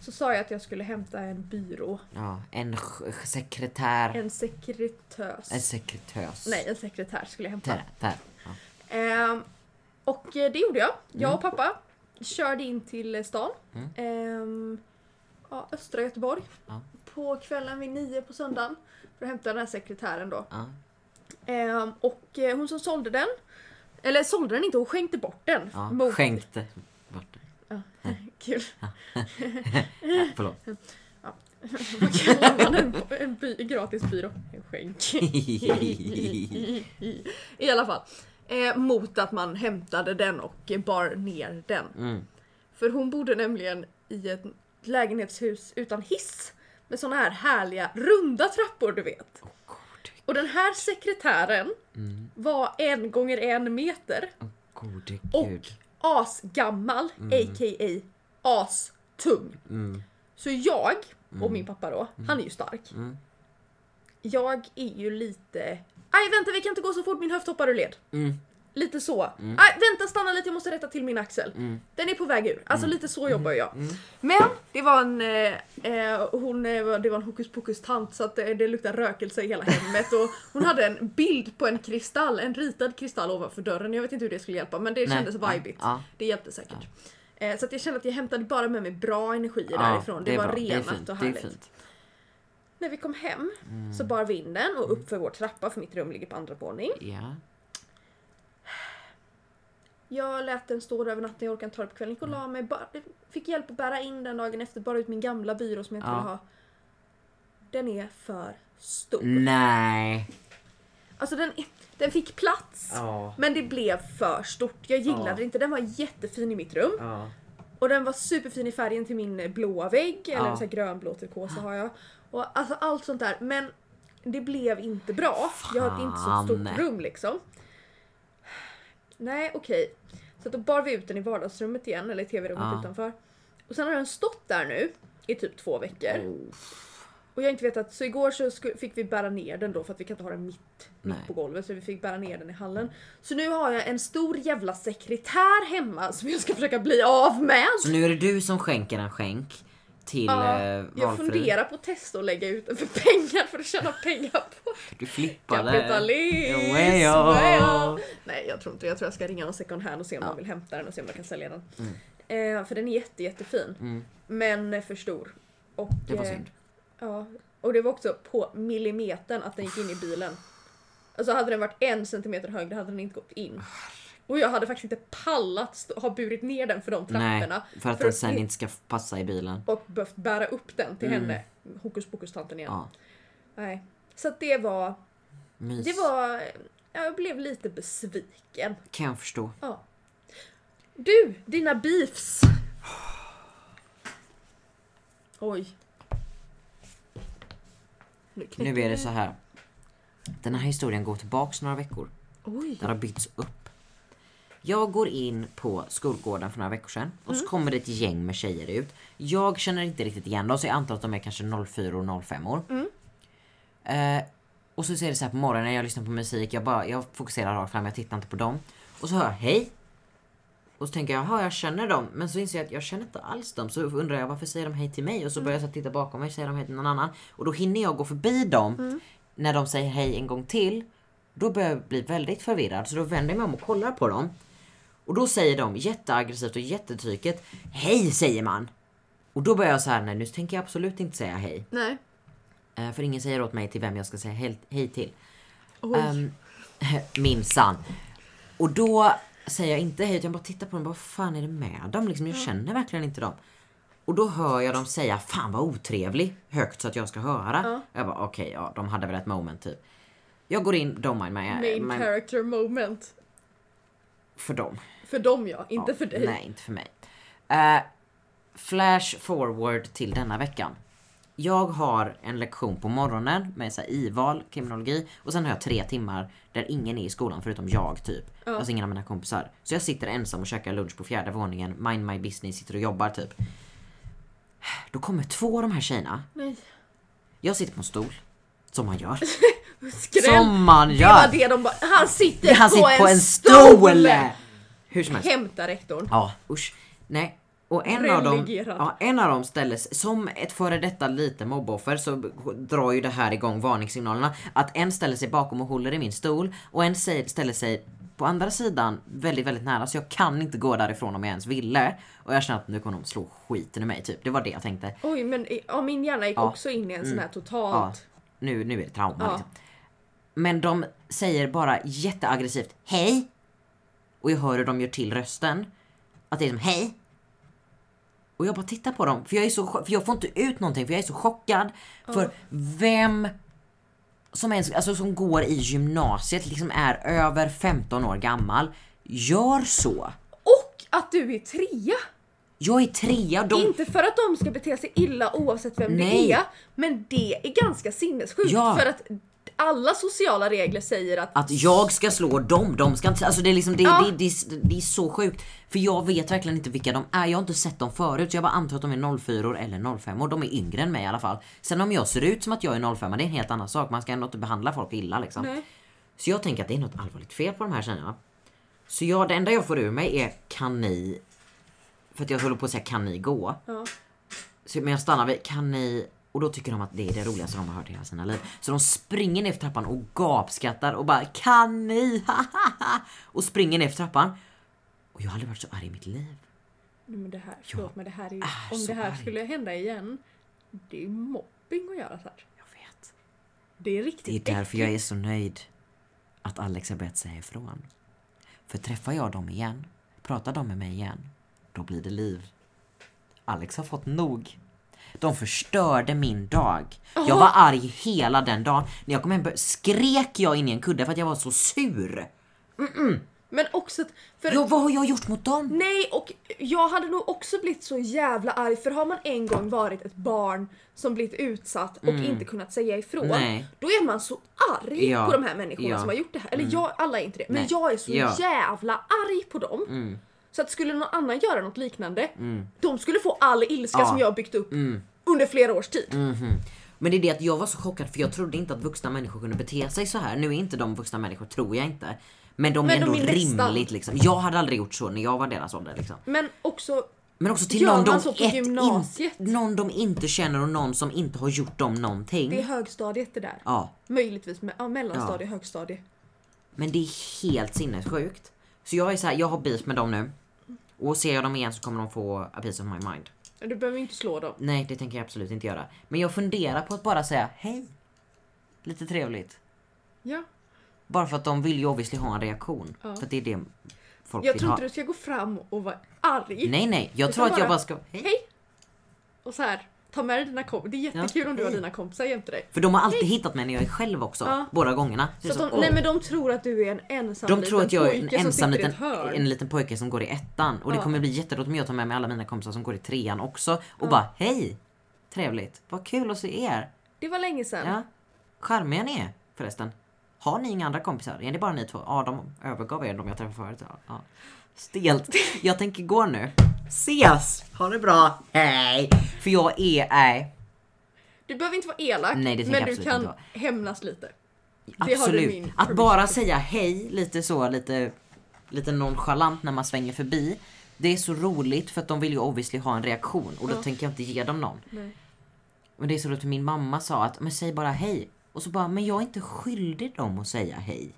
Speaker 1: så sa jag att jag skulle hämta en byrå.
Speaker 2: ja. En sch- sch- sekretär.
Speaker 1: En sekretös.
Speaker 2: En sekretös.
Speaker 1: Nej, en sekretär skulle jag hämta.
Speaker 2: Där, där. Ja.
Speaker 1: Ehm, och eh, det gjorde jag. Jag och pappa körde in till eh, stan.
Speaker 2: Mm.
Speaker 1: Ehm, ja, östra Göteborg.
Speaker 2: Ja.
Speaker 1: På kvällen vid nio på söndagen. För att hämta den här sekretären då.
Speaker 2: Ja.
Speaker 1: Ehm, och eh, hon som sålde den. Eller sålde den inte, hon skänkte bort den.
Speaker 2: Ja.
Speaker 1: Mot-
Speaker 2: Skänkte. Vart?
Speaker 1: Kul.
Speaker 2: Förlåt.
Speaker 1: Vad kallar man en, en by, gratis byrå? En skänk. I alla fall. Eh, mot att man hämtade den och eh, bar ner den.
Speaker 2: Mm.
Speaker 1: För hon bodde nämligen i ett lägenhetshus utan hiss. Med såna här härliga runda trappor du vet.
Speaker 2: God,
Speaker 1: Och den här sekretären
Speaker 2: Mm.
Speaker 1: var en gånger en meter.
Speaker 2: gode
Speaker 1: Och
Speaker 2: gud.
Speaker 1: asgammal, a.k.a. astung.
Speaker 2: Mm.
Speaker 1: Så jag, och min pappa då, han är ju stark.
Speaker 2: Mm.
Speaker 1: Jag är ju lite... Aj vänta vi kan inte gå så fort, min höft hoppar ur led.
Speaker 2: Mm.
Speaker 1: Lite så. Aj, vänta stanna lite, jag måste rätta till min axel.
Speaker 2: Mm.
Speaker 1: Den är på väg ur. Alltså lite så jobbar jag. Men det var en, eh, eh, hon, eh, var- det var en hokus pokus tant så att eh, det, det luktar rökelse i hela hemmet. Och hon hade en bild på en kristall, en ritad kristall ovanför dörren. Jag vet inte hur det skulle hjälpa men det
Speaker 2: Nej,
Speaker 1: kändes
Speaker 2: ja,
Speaker 1: vibigt.
Speaker 2: ja.
Speaker 1: Det hjälpte säkert. Eh, så att jag kände att jag hämtade bara med mig bra energier
Speaker 2: Ja,
Speaker 1: därifrån. Det,
Speaker 2: är
Speaker 1: var
Speaker 2: bra.
Speaker 1: renat
Speaker 2: det är fint.
Speaker 1: och
Speaker 2: Det är
Speaker 1: härligt.
Speaker 2: fint. Mm.
Speaker 1: När vi kom hem så bar vi in den och upp för vår trappa för mitt rum ligger på andra våning.
Speaker 2: Ja.
Speaker 1: Jag lät den stå där över natten, jag orkade inte ta det på kvällen. Gick och la
Speaker 2: Mm.
Speaker 1: mig. Bara, fick hjälp att bära in den dagen efter, bara ut min gamla byrå som jag inte
Speaker 2: Ja.
Speaker 1: ville ha. Den är för stor.
Speaker 2: Mm. Nej.
Speaker 1: Alltså den, den fick plats.
Speaker 2: Ja.
Speaker 1: Men det blev för stort. Jag gillade
Speaker 2: Ja.
Speaker 1: det inte. Den var jättefin i mitt rum.
Speaker 2: Ja.
Speaker 1: Och den var superfin i färgen till min eh, blåa vägg. Eller
Speaker 2: Ja.
Speaker 1: så här grönblå turkosa har jag. Och alltså allt sånt där. Men det blev inte bra. Jag hade inte så
Speaker 2: Fan.
Speaker 1: stort rum liksom. Nej okej. Så att då bar vi ut den i vardagsrummet igen. Eller i tv-rummet
Speaker 2: Ja.
Speaker 1: utanför. Och sen har den stått där nu i typ två veckor.
Speaker 2: Oh.
Speaker 1: Och jag har inte vetat, så igår så sku- fick vi bära ner den då för att vi kan inte ha den mitt,
Speaker 2: Nej.
Speaker 1: mitt på golvet så vi fick bära ner den i hallen. Så nu har jag en stor jävla sekretär hemma som jag ska försöka bli av med.
Speaker 2: Så nu är det du som skänker en skänk till
Speaker 1: Ja,
Speaker 2: eh,
Speaker 1: Jag
Speaker 2: valfri.
Speaker 1: funderar på att testa att lägga ut den för pengar för att tjäna pengar på
Speaker 2: Du flippade.
Speaker 1: kapitalism.
Speaker 2: Way off.
Speaker 1: Well. Nej jag tror inte Jag tror jag ska ringa någon second hand och se om de vill hämta den och se om jag kan sälja den. Eh, för den är jätte, jättefin.
Speaker 2: Mm.
Speaker 1: Men eh, för stor. Och,
Speaker 2: Det var
Speaker 1: eh,
Speaker 2: synd.
Speaker 1: Ja, och det var också på millimetern att den gick in i bilen. Alltså hade den varit en centimeter högre hade den inte gått in. Och jag hade faktiskt inte pallat stå- ha burit ner den för de
Speaker 2: Nej,
Speaker 1: trapporna.
Speaker 2: för att
Speaker 1: för
Speaker 2: den
Speaker 1: att
Speaker 2: sen
Speaker 1: vi-
Speaker 2: inte ska passa i bilen.
Speaker 1: Och behövt bära upp den till henne. Hokus pokus tanten igen.
Speaker 2: Ja,
Speaker 1: Nej. Så att det var,
Speaker 2: mys.
Speaker 1: det var, ja, jag blev lite besviken.
Speaker 2: Kan jag förstå.
Speaker 1: Ja. Du, dina beefs. Oj. Nu knäcker
Speaker 2: Nu är det så här. Den här historien går tillbaks några veckor.
Speaker 1: Oj.
Speaker 2: Den har byggts upp. Jag går in på skolgården för några veckor sedan och så kommer det ett gäng med tjejer ut. Jag känner inte riktigt igen dem så jag antar att de är kanske 04 och 05 år. Eh, och så ser det så här på morgonen när jag lyssnar på musik, jag, bara, jag fokuserar rakt fram, jag tittar inte på dem. Och så hör jag hej. Och så tänker jag, jaha jag känner dem. Men så inser jag att jag känner inte alls dem. Så undrar jag varför säger de hej till mig? Och så börjar jag så här titta bakom mig, säger de hej till någon annan? Och då hinner jag gå förbi dem. När de säger hej en gång till. Då börjar jag bli väldigt förvirrad. Så då vänder jag mig om och kollar på dem. Och då säger de jätteaggressivt och jättetrycket, hej säger man. Och då börjar jag så här, nej nu tänker jag absolut inte säga hej.
Speaker 1: Nej.
Speaker 2: Eh, För ingen säger åt mig till vem jag ska säga hej, hej till. Um, minsann. Och då säger jag inte hej utan jag bara tittar på dem och bara, vad fan är det med dem? Liksom, jag känner verkligen inte dem. Och då hör jag dem säga fan vad otrevlig högt så att jag ska höra. Jag bara okej, ja de hade väl ett moment typ. Jag går in, don't mind my,
Speaker 1: Main
Speaker 2: my
Speaker 1: character moment.
Speaker 2: för dem.
Speaker 1: För dem ja, inte
Speaker 2: Ja,
Speaker 1: för dig.
Speaker 2: Nej, inte för mig. Eh, flash forward till denna veckan. Jag har en lektion på morgonen med så här IVAL, kriminologi och sen har jag tre timmar där ingen är i skolan förutom jag typ. Alltså ingen av mina kompisar. Så jag sitter ensam och käkar lunch på fjärde våningen, mind my business, sitter och jobbar typ. Då kommer två av de här tjejerna.
Speaker 1: Nej.
Speaker 2: Jag sitter på en stol. Som man gör.
Speaker 1: Skräll.
Speaker 2: Som man
Speaker 1: Det var
Speaker 2: gör!
Speaker 1: det de bara, han sitter,
Speaker 2: Han sitter på en stol!
Speaker 1: stol!
Speaker 2: Hur som helst.
Speaker 1: Hämta rektorn.
Speaker 2: Ja, usch. Nej. Och en av, dem,
Speaker 1: Relegerad.
Speaker 2: ja, en av dem ställdes, som ett före detta lite mobboffer så drar ju det här igång varningssignalerna. Att en ställer sig bakom och håller i min stol och en säger- ställer sig på andra sidan väldigt, väldigt nära så jag kan inte gå därifrån om jag ens ville. Och jag känner att nu kommer de slå skiten ur mig typ. Det var det jag tänkte.
Speaker 1: Oj men i- ja, min hjärna gick
Speaker 2: Ja. Mm.
Speaker 1: också in i en sån här
Speaker 2: Ja,
Speaker 1: totalt.
Speaker 2: nu, nu är det trauma
Speaker 1: Ja.
Speaker 2: liksom. Men de säger bara jätteaggressivt hej. Och jag hör hur de gör till rösten. Att det är som hej. Och jag bara tittar på dem. För jag, är så, chock- för jag får inte ut någonting för jag är så chockad. För vem som, ens, alltså, som går i gymnasiet, liksom är över 15 år gammal, gör så.
Speaker 1: Och att du är trea!
Speaker 2: Jag är trea, de,
Speaker 1: Inte för att de ska bete sig illa oavsett vem
Speaker 2: Nej.
Speaker 1: det är, men det är ganska sinnessjukt
Speaker 2: Ja.
Speaker 1: för att alla sociala regler säger att
Speaker 2: att jag ska slå dem, de ska inte... Alltså det är liksom, det,
Speaker 1: Ja.
Speaker 2: det, det, det är så sjukt. För jag vet verkligen inte vilka de är, jag har inte sett dem förut. Så jag bara antar att de är 04 eller 05 och de är yngre än mig i alla fall. Sen om jag ser ut som att jag är 05 det är en helt annan sak. Man ska ändå inte behandla folk illa liksom.
Speaker 1: Nej.
Speaker 2: Så jag tänker att det är något allvarligt fel på de här tjejerna. Så jag, det enda jag får ur mig är kan ni... För att jag håller på att säga kan ni gå?
Speaker 1: Ja.
Speaker 2: Så, men jag stannar vid kan ni... Och då tycker de att det är det roligaste de har hört i hela sina liv. Så de springer ner för trappan och gapskrattar och bara kan ni? och springer ner för trappan. Och jag har aldrig varit så arg i mitt liv.
Speaker 1: Nej, men det här, förlåt, men det här är, ju-
Speaker 2: är
Speaker 1: om
Speaker 2: Ah, så
Speaker 1: det här
Speaker 2: arg.
Speaker 1: skulle hända igen, det är ju mobbing att göra så här.
Speaker 2: Jag vet.
Speaker 1: Det är
Speaker 2: Det
Speaker 1: riktigt
Speaker 2: är därför jag är så nöjd att Alex har börjat säga ifrån. För träffar jag dem igen, pratar de med mig igen, då blir det liv. Alex har fått nog. De förstörde min dag. Jag var arg hela den dagen. När jag kom hem bör- skrek jag in i en kudde för att jag var så sur.
Speaker 1: Men också att, för,
Speaker 2: Jag, vad har jag gjort mot dem?
Speaker 1: nej och jag hade nog också blivit så jävla arg för har man en gång varit ett barn som blivit utsatt och inte kunnat säga ifrån,
Speaker 2: Mm. Nej.
Speaker 1: då är man så arg
Speaker 2: Ja.
Speaker 1: på de här människorna
Speaker 2: Ja. Mm.
Speaker 1: som har gjort det här. Eller jag, alla är inte det, men
Speaker 2: Nej.
Speaker 1: jag är så
Speaker 2: Ja. Mm.
Speaker 1: jävla arg på dem. Så att skulle någon annan göra något liknande, de skulle få all ilska
Speaker 2: Ja. Mm.
Speaker 1: som jag har byggt upp under flera års tid.
Speaker 2: Men det är det att jag var så chockad för jag trodde inte att vuxna människor kunde bete sig så här. Nu är inte de vuxna människor, tror jag inte. Men de
Speaker 1: Men
Speaker 2: är
Speaker 1: de
Speaker 2: ändå
Speaker 1: är nästan.
Speaker 2: rimligt liksom. Jag hade aldrig gjort så när jag var deras ålder liksom.
Speaker 1: Men också,
Speaker 2: Men också till
Speaker 1: Gör
Speaker 2: någon
Speaker 1: man
Speaker 2: de,
Speaker 1: så på
Speaker 2: ett,
Speaker 1: gymnasiet?
Speaker 2: In, någon de inte känner och någon som inte har gjort dem någonting.
Speaker 1: det är högstadiet det där.
Speaker 2: Mm. Ja,
Speaker 1: Möjligtvis med, ja, mellanstadie, högstadie.
Speaker 2: men det är helt sinnessjukt. Så jag är så här, jag har beef med dem nu. Och ser jag dem igen så kommer de få a piece of my mind.
Speaker 1: Du behöver ju inte slå dem.
Speaker 2: Nej, det tänker jag absolut inte göra. Men jag funderar på att bara säga hej. Lite trevligt.
Speaker 1: Ja.
Speaker 2: Bara för att de vill ju obviously ha en reaktion.
Speaker 1: Ja.
Speaker 2: För att det är det folk
Speaker 1: Jag
Speaker 2: vill
Speaker 1: tror
Speaker 2: ha.
Speaker 1: inte du ska gå fram och vara arg.
Speaker 2: Nej, nej. Jag
Speaker 1: Utan
Speaker 2: tror att jag
Speaker 1: bara-
Speaker 2: bara ska... Hej.
Speaker 1: Hej! Och så här, ta med dig dina kompisar. Det är jättekul
Speaker 2: Ja.
Speaker 1: om du har dina kompisar jämte dig.
Speaker 2: För de har alltid hittat mig när jag är själv också.
Speaker 1: Ja.
Speaker 2: Båda gångerna.
Speaker 1: Så
Speaker 2: Det är
Speaker 1: att de,
Speaker 2: åh.
Speaker 1: nej men de tror att du är en ensam
Speaker 2: De
Speaker 1: liten
Speaker 2: tror att jag är en
Speaker 1: pojke som
Speaker 2: ensam
Speaker 1: sitter i
Speaker 2: liten,
Speaker 1: ett hörn.
Speaker 2: en liten pojke som går i ettan. Och det
Speaker 1: Ja.
Speaker 2: kommer bli jätteroligt om jag tar med mig alla mina kompisar som går i trean också. Och bara hej! Trevligt. Vad kul att se er.
Speaker 1: Det var länge sedan.
Speaker 2: Ja. Charmiga ni är förresten. Har ni inga andra kompisar? Är det bara ni två? Ja, de övergav er de jag träffade förut. Ja, ja. Stelt. Jag tänker gå nu. Ses! Ha det bra. Hej! För jag är... Nej.
Speaker 1: Du behöver inte vara elak,
Speaker 2: Nej, det tänker
Speaker 1: men
Speaker 2: jag
Speaker 1: du
Speaker 2: absolut
Speaker 1: kan
Speaker 2: inte
Speaker 1: hämnas lite. har du
Speaker 2: Absolut.
Speaker 1: min
Speaker 2: Att
Speaker 1: permission
Speaker 2: bara
Speaker 1: för.
Speaker 2: säga hej lite så, lite, lite nonchalant när man svänger förbi. Det är så roligt för att de vill ju obviously ha en reaktion och då
Speaker 1: Ja.
Speaker 2: tänker jag inte ge dem någon.
Speaker 1: Nej.
Speaker 2: Men det är så roligt för min mamma sa att men säg bara hej. Och så bara, men jag är inte skyldig dem att säga hej.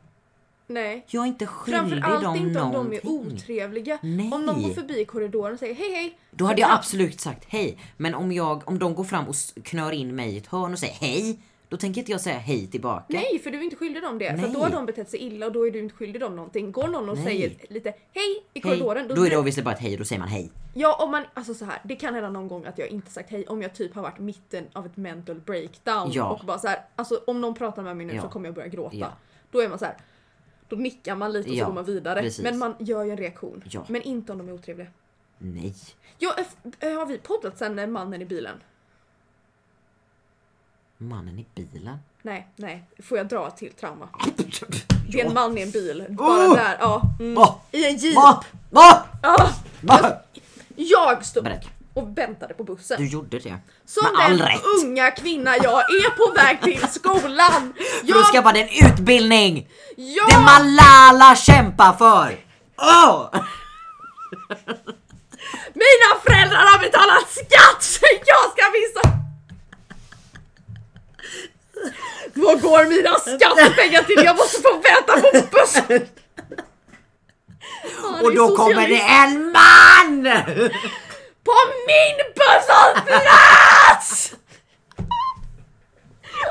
Speaker 1: Nej.
Speaker 2: Jag är inte skyldig dem
Speaker 1: Framförallt inte om de är
Speaker 2: någonting.
Speaker 1: otrevliga.
Speaker 2: Nej.
Speaker 1: Om de går förbi i korridoren och säger hej hej.
Speaker 2: Då hade jag absolut sagt hej. Men om, jag, om de går fram och s- knör in mig i ett hörn och säger hej. Då tänker inte jag säga hej tillbaka.
Speaker 1: Nej, för du är inte skyldig dem det. För
Speaker 2: Nej.
Speaker 1: då har de betett sig illa och då är du inte skyldig dem någonting. Går någon och
Speaker 2: Nej.
Speaker 1: säger lite hej i
Speaker 2: hej.
Speaker 1: korridoren.
Speaker 2: Då är det obviously bara ett hej, då säger man hej.
Speaker 1: Ja, om man, alltså så här, det kan hända någon gång att jag inte sagt hej om jag typ har varit mitten av ett mental breakdown
Speaker 2: Ja.
Speaker 1: och bara så här, alltså om någon pratar med mig nu
Speaker 2: Ja.
Speaker 1: så kommer jag börja gråta.
Speaker 2: Ja.
Speaker 1: Då är man så här, då nickar man lite och
Speaker 2: Ja,
Speaker 1: så går man vidare.
Speaker 2: precis.
Speaker 1: Men man gör ju en reaktion.
Speaker 2: Ja.
Speaker 1: Men inte om de är otrevliga.
Speaker 2: Nej.
Speaker 1: Ja, f- eh, har vi poddat sen när mannen i bilen?
Speaker 2: Mannen i bilen.
Speaker 1: Nej, nej. Får jag dra till trauma? Det är en
Speaker 2: Ja.
Speaker 1: man i en bil. Bara
Speaker 2: Oh!
Speaker 1: där, ja. Mm.
Speaker 2: Va?
Speaker 1: I en jeep.
Speaker 2: Va? Va?
Speaker 1: Ja.
Speaker 2: Va?
Speaker 1: Jag stod
Speaker 2: Berätta.
Speaker 1: och väntade på bussen.
Speaker 2: Du gjorde det.
Speaker 1: Som
Speaker 2: Med all
Speaker 1: den
Speaker 2: rätt.
Speaker 1: unga kvinna jag är på väg till skolan!
Speaker 2: För att
Speaker 1: Jag,
Speaker 2: skaffa den utbildning! Det
Speaker 1: jag,
Speaker 2: Malala kämpar för! Åh!
Speaker 1: mina föräldrar har betalat skatt så jag ska visa! Vad går mina skattepengar till? Jag måste få vänta på bussen! Han är
Speaker 2: Och då kommer
Speaker 1: socialist.
Speaker 2: det en man!
Speaker 1: På min busshållplats!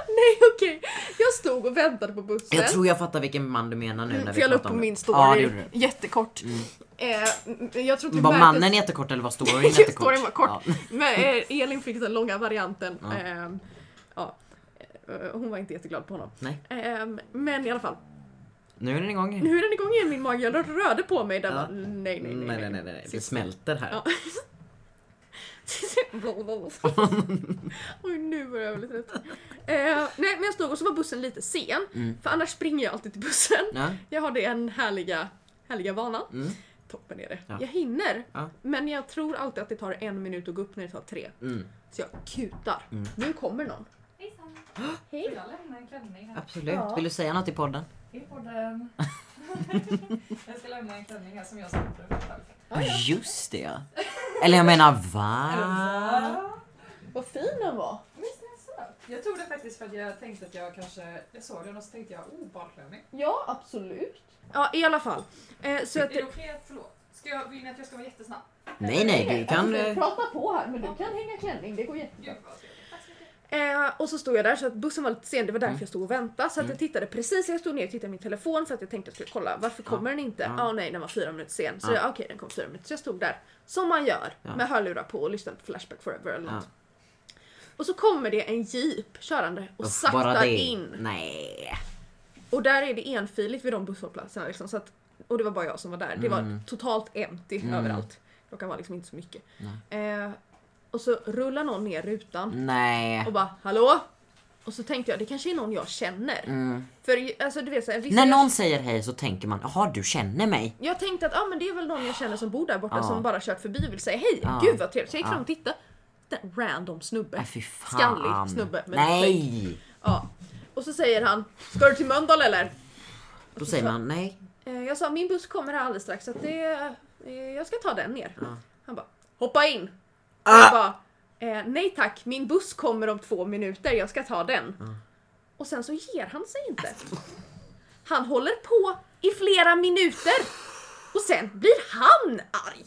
Speaker 1: Nej okej, jag stod och väntade på bussen.
Speaker 2: Jag tror jag fattar vilken man du menar nu när
Speaker 1: För
Speaker 2: vi
Speaker 1: jag la upp
Speaker 2: pratar
Speaker 1: på
Speaker 2: om
Speaker 1: min
Speaker 2: det. Ja, det
Speaker 1: story,
Speaker 2: gjorde du.
Speaker 1: jättekort. Eh, m- jag tror
Speaker 2: Var
Speaker 1: Marcus-
Speaker 2: mannen jättekort eller var storyn
Speaker 1: Just
Speaker 2: jättekort?
Speaker 1: storyn var kort.
Speaker 2: Ja.
Speaker 1: Men eh, Elin fick den långa varianten.
Speaker 2: Ja.
Speaker 1: Ehm, ja. Eh, Hon var inte jätteglad på honom.
Speaker 2: Nej.
Speaker 1: Ehm, men i alla fall,
Speaker 2: Nu är den igång.
Speaker 1: nu är den igång igen min mage. Jag rörde på mig där.
Speaker 2: Ja.
Speaker 1: bara, Nej, nej,
Speaker 2: Mm,
Speaker 1: nej. nej,
Speaker 2: Det smälter här.
Speaker 1: Ja. Oj, nu börjar jag bli trött. Eh, nej, men jag stod och så var bussen lite sen.
Speaker 2: Mm.
Speaker 1: För annars springer jag alltid till bussen.
Speaker 2: Ja.
Speaker 1: Jag har den härliga, härliga vanan.
Speaker 2: Mm.
Speaker 1: Toppen är det.
Speaker 2: Ja.
Speaker 1: Jag hinner.
Speaker 2: Ja.
Speaker 1: Men jag tror alltid att det tar en minut att gå upp när det tar tre.
Speaker 2: Mm.
Speaker 1: Så jag kutar.
Speaker 2: Mm.
Speaker 1: Nu kommer någon.
Speaker 5: Hejsan!
Speaker 1: Hej.
Speaker 5: Får jag lämna en klänning här
Speaker 2: Absolut.
Speaker 1: Ja.
Speaker 2: Vill du säga något i podden?
Speaker 5: i podden? jag ska lämna en klänning här som jag snodde.
Speaker 2: Just det ja. Eller jag menar va?
Speaker 5: Va?
Speaker 1: Vad fin den var.
Speaker 5: Visst är den söt? Jag tog den faktiskt för att jag tänkte att jag kanske, jag såg den och så tänkte jag, oh badklänning.
Speaker 1: Ja, absolut. Ja, i alla fall. Eh, så
Speaker 5: Är
Speaker 1: att,
Speaker 5: det okej att, förlåt, ska jag, vill ni att jag ska vara jättesnabb?
Speaker 2: Nej nej, du kan... eh,
Speaker 1: prata på här, men du kan hänga klänning. Det går jättebra.
Speaker 5: Gud vad trevligt. Tack så mycket.
Speaker 1: Eh, och så stod jag där, så att bussen var lite sen. Det var därför
Speaker 2: Mm.
Speaker 1: jag stod och väntade. Så att jag tittade precis, jag stod ner och tittade i min telefon för att jag tänkte att jag skulle kolla. Varför kommer den inte? Ja,
Speaker 2: Ja.
Speaker 1: nej, den var fyra minuter sen. Så
Speaker 2: Ja.
Speaker 1: jag, okej, den kom fyra minuter. Så jag stod där, som man gör,
Speaker 2: Ja.
Speaker 1: med hörlurar på och lyssnade på Flashback Forever eller
Speaker 2: Ja.
Speaker 1: något. Och så kommer det en jeep körande och
Speaker 2: Uff,
Speaker 1: saktar in.
Speaker 2: Nej.
Speaker 1: Och där är det enfiligt vid de busshållplatserna. Liksom, så att, och det var bara jag som var där. Det var
Speaker 2: Mm.
Speaker 1: totalt empty
Speaker 2: Mm.
Speaker 1: överallt. Klockan var liksom inte så mycket. Eh, och så rullar någon ner rutan
Speaker 2: Nej.
Speaker 1: och bara “Hallå?” Och så tänkte jag det kanske är någon jag känner.
Speaker 2: Mm.
Speaker 1: För ju- alltså, du vet, så här, vissa
Speaker 2: När
Speaker 1: jag-
Speaker 2: någon säger hej så tänker man jaha du känner mig.
Speaker 1: jag tänkte att ah, men det är väl någon jag känner som bor där borta
Speaker 2: Ja.
Speaker 1: som bara kört förbi och vill säga hej,
Speaker 2: Ja.
Speaker 1: gud vad trevligt. Så jag gick
Speaker 2: Ja.
Speaker 1: fram och tittade. liten random snubbe.
Speaker 2: Nej fy fan.
Speaker 1: Skallig snubbe med
Speaker 2: Nej!
Speaker 1: Ja. Och så säger han, ska du till Mölndal eller?
Speaker 2: Då säger man nej.
Speaker 1: Eh, Jag sa, min buss kommer här alldeles strax så att det, eh, jag ska ta den ner.
Speaker 2: Ja.
Speaker 1: Han bara, hoppa in!
Speaker 2: Ah!
Speaker 1: Jag bara, eh, nej tack, min buss kommer om två minuter, jag ska ta den. Och sen så ger han sig inte. Han håller på i flera minuter och sen blir han arg.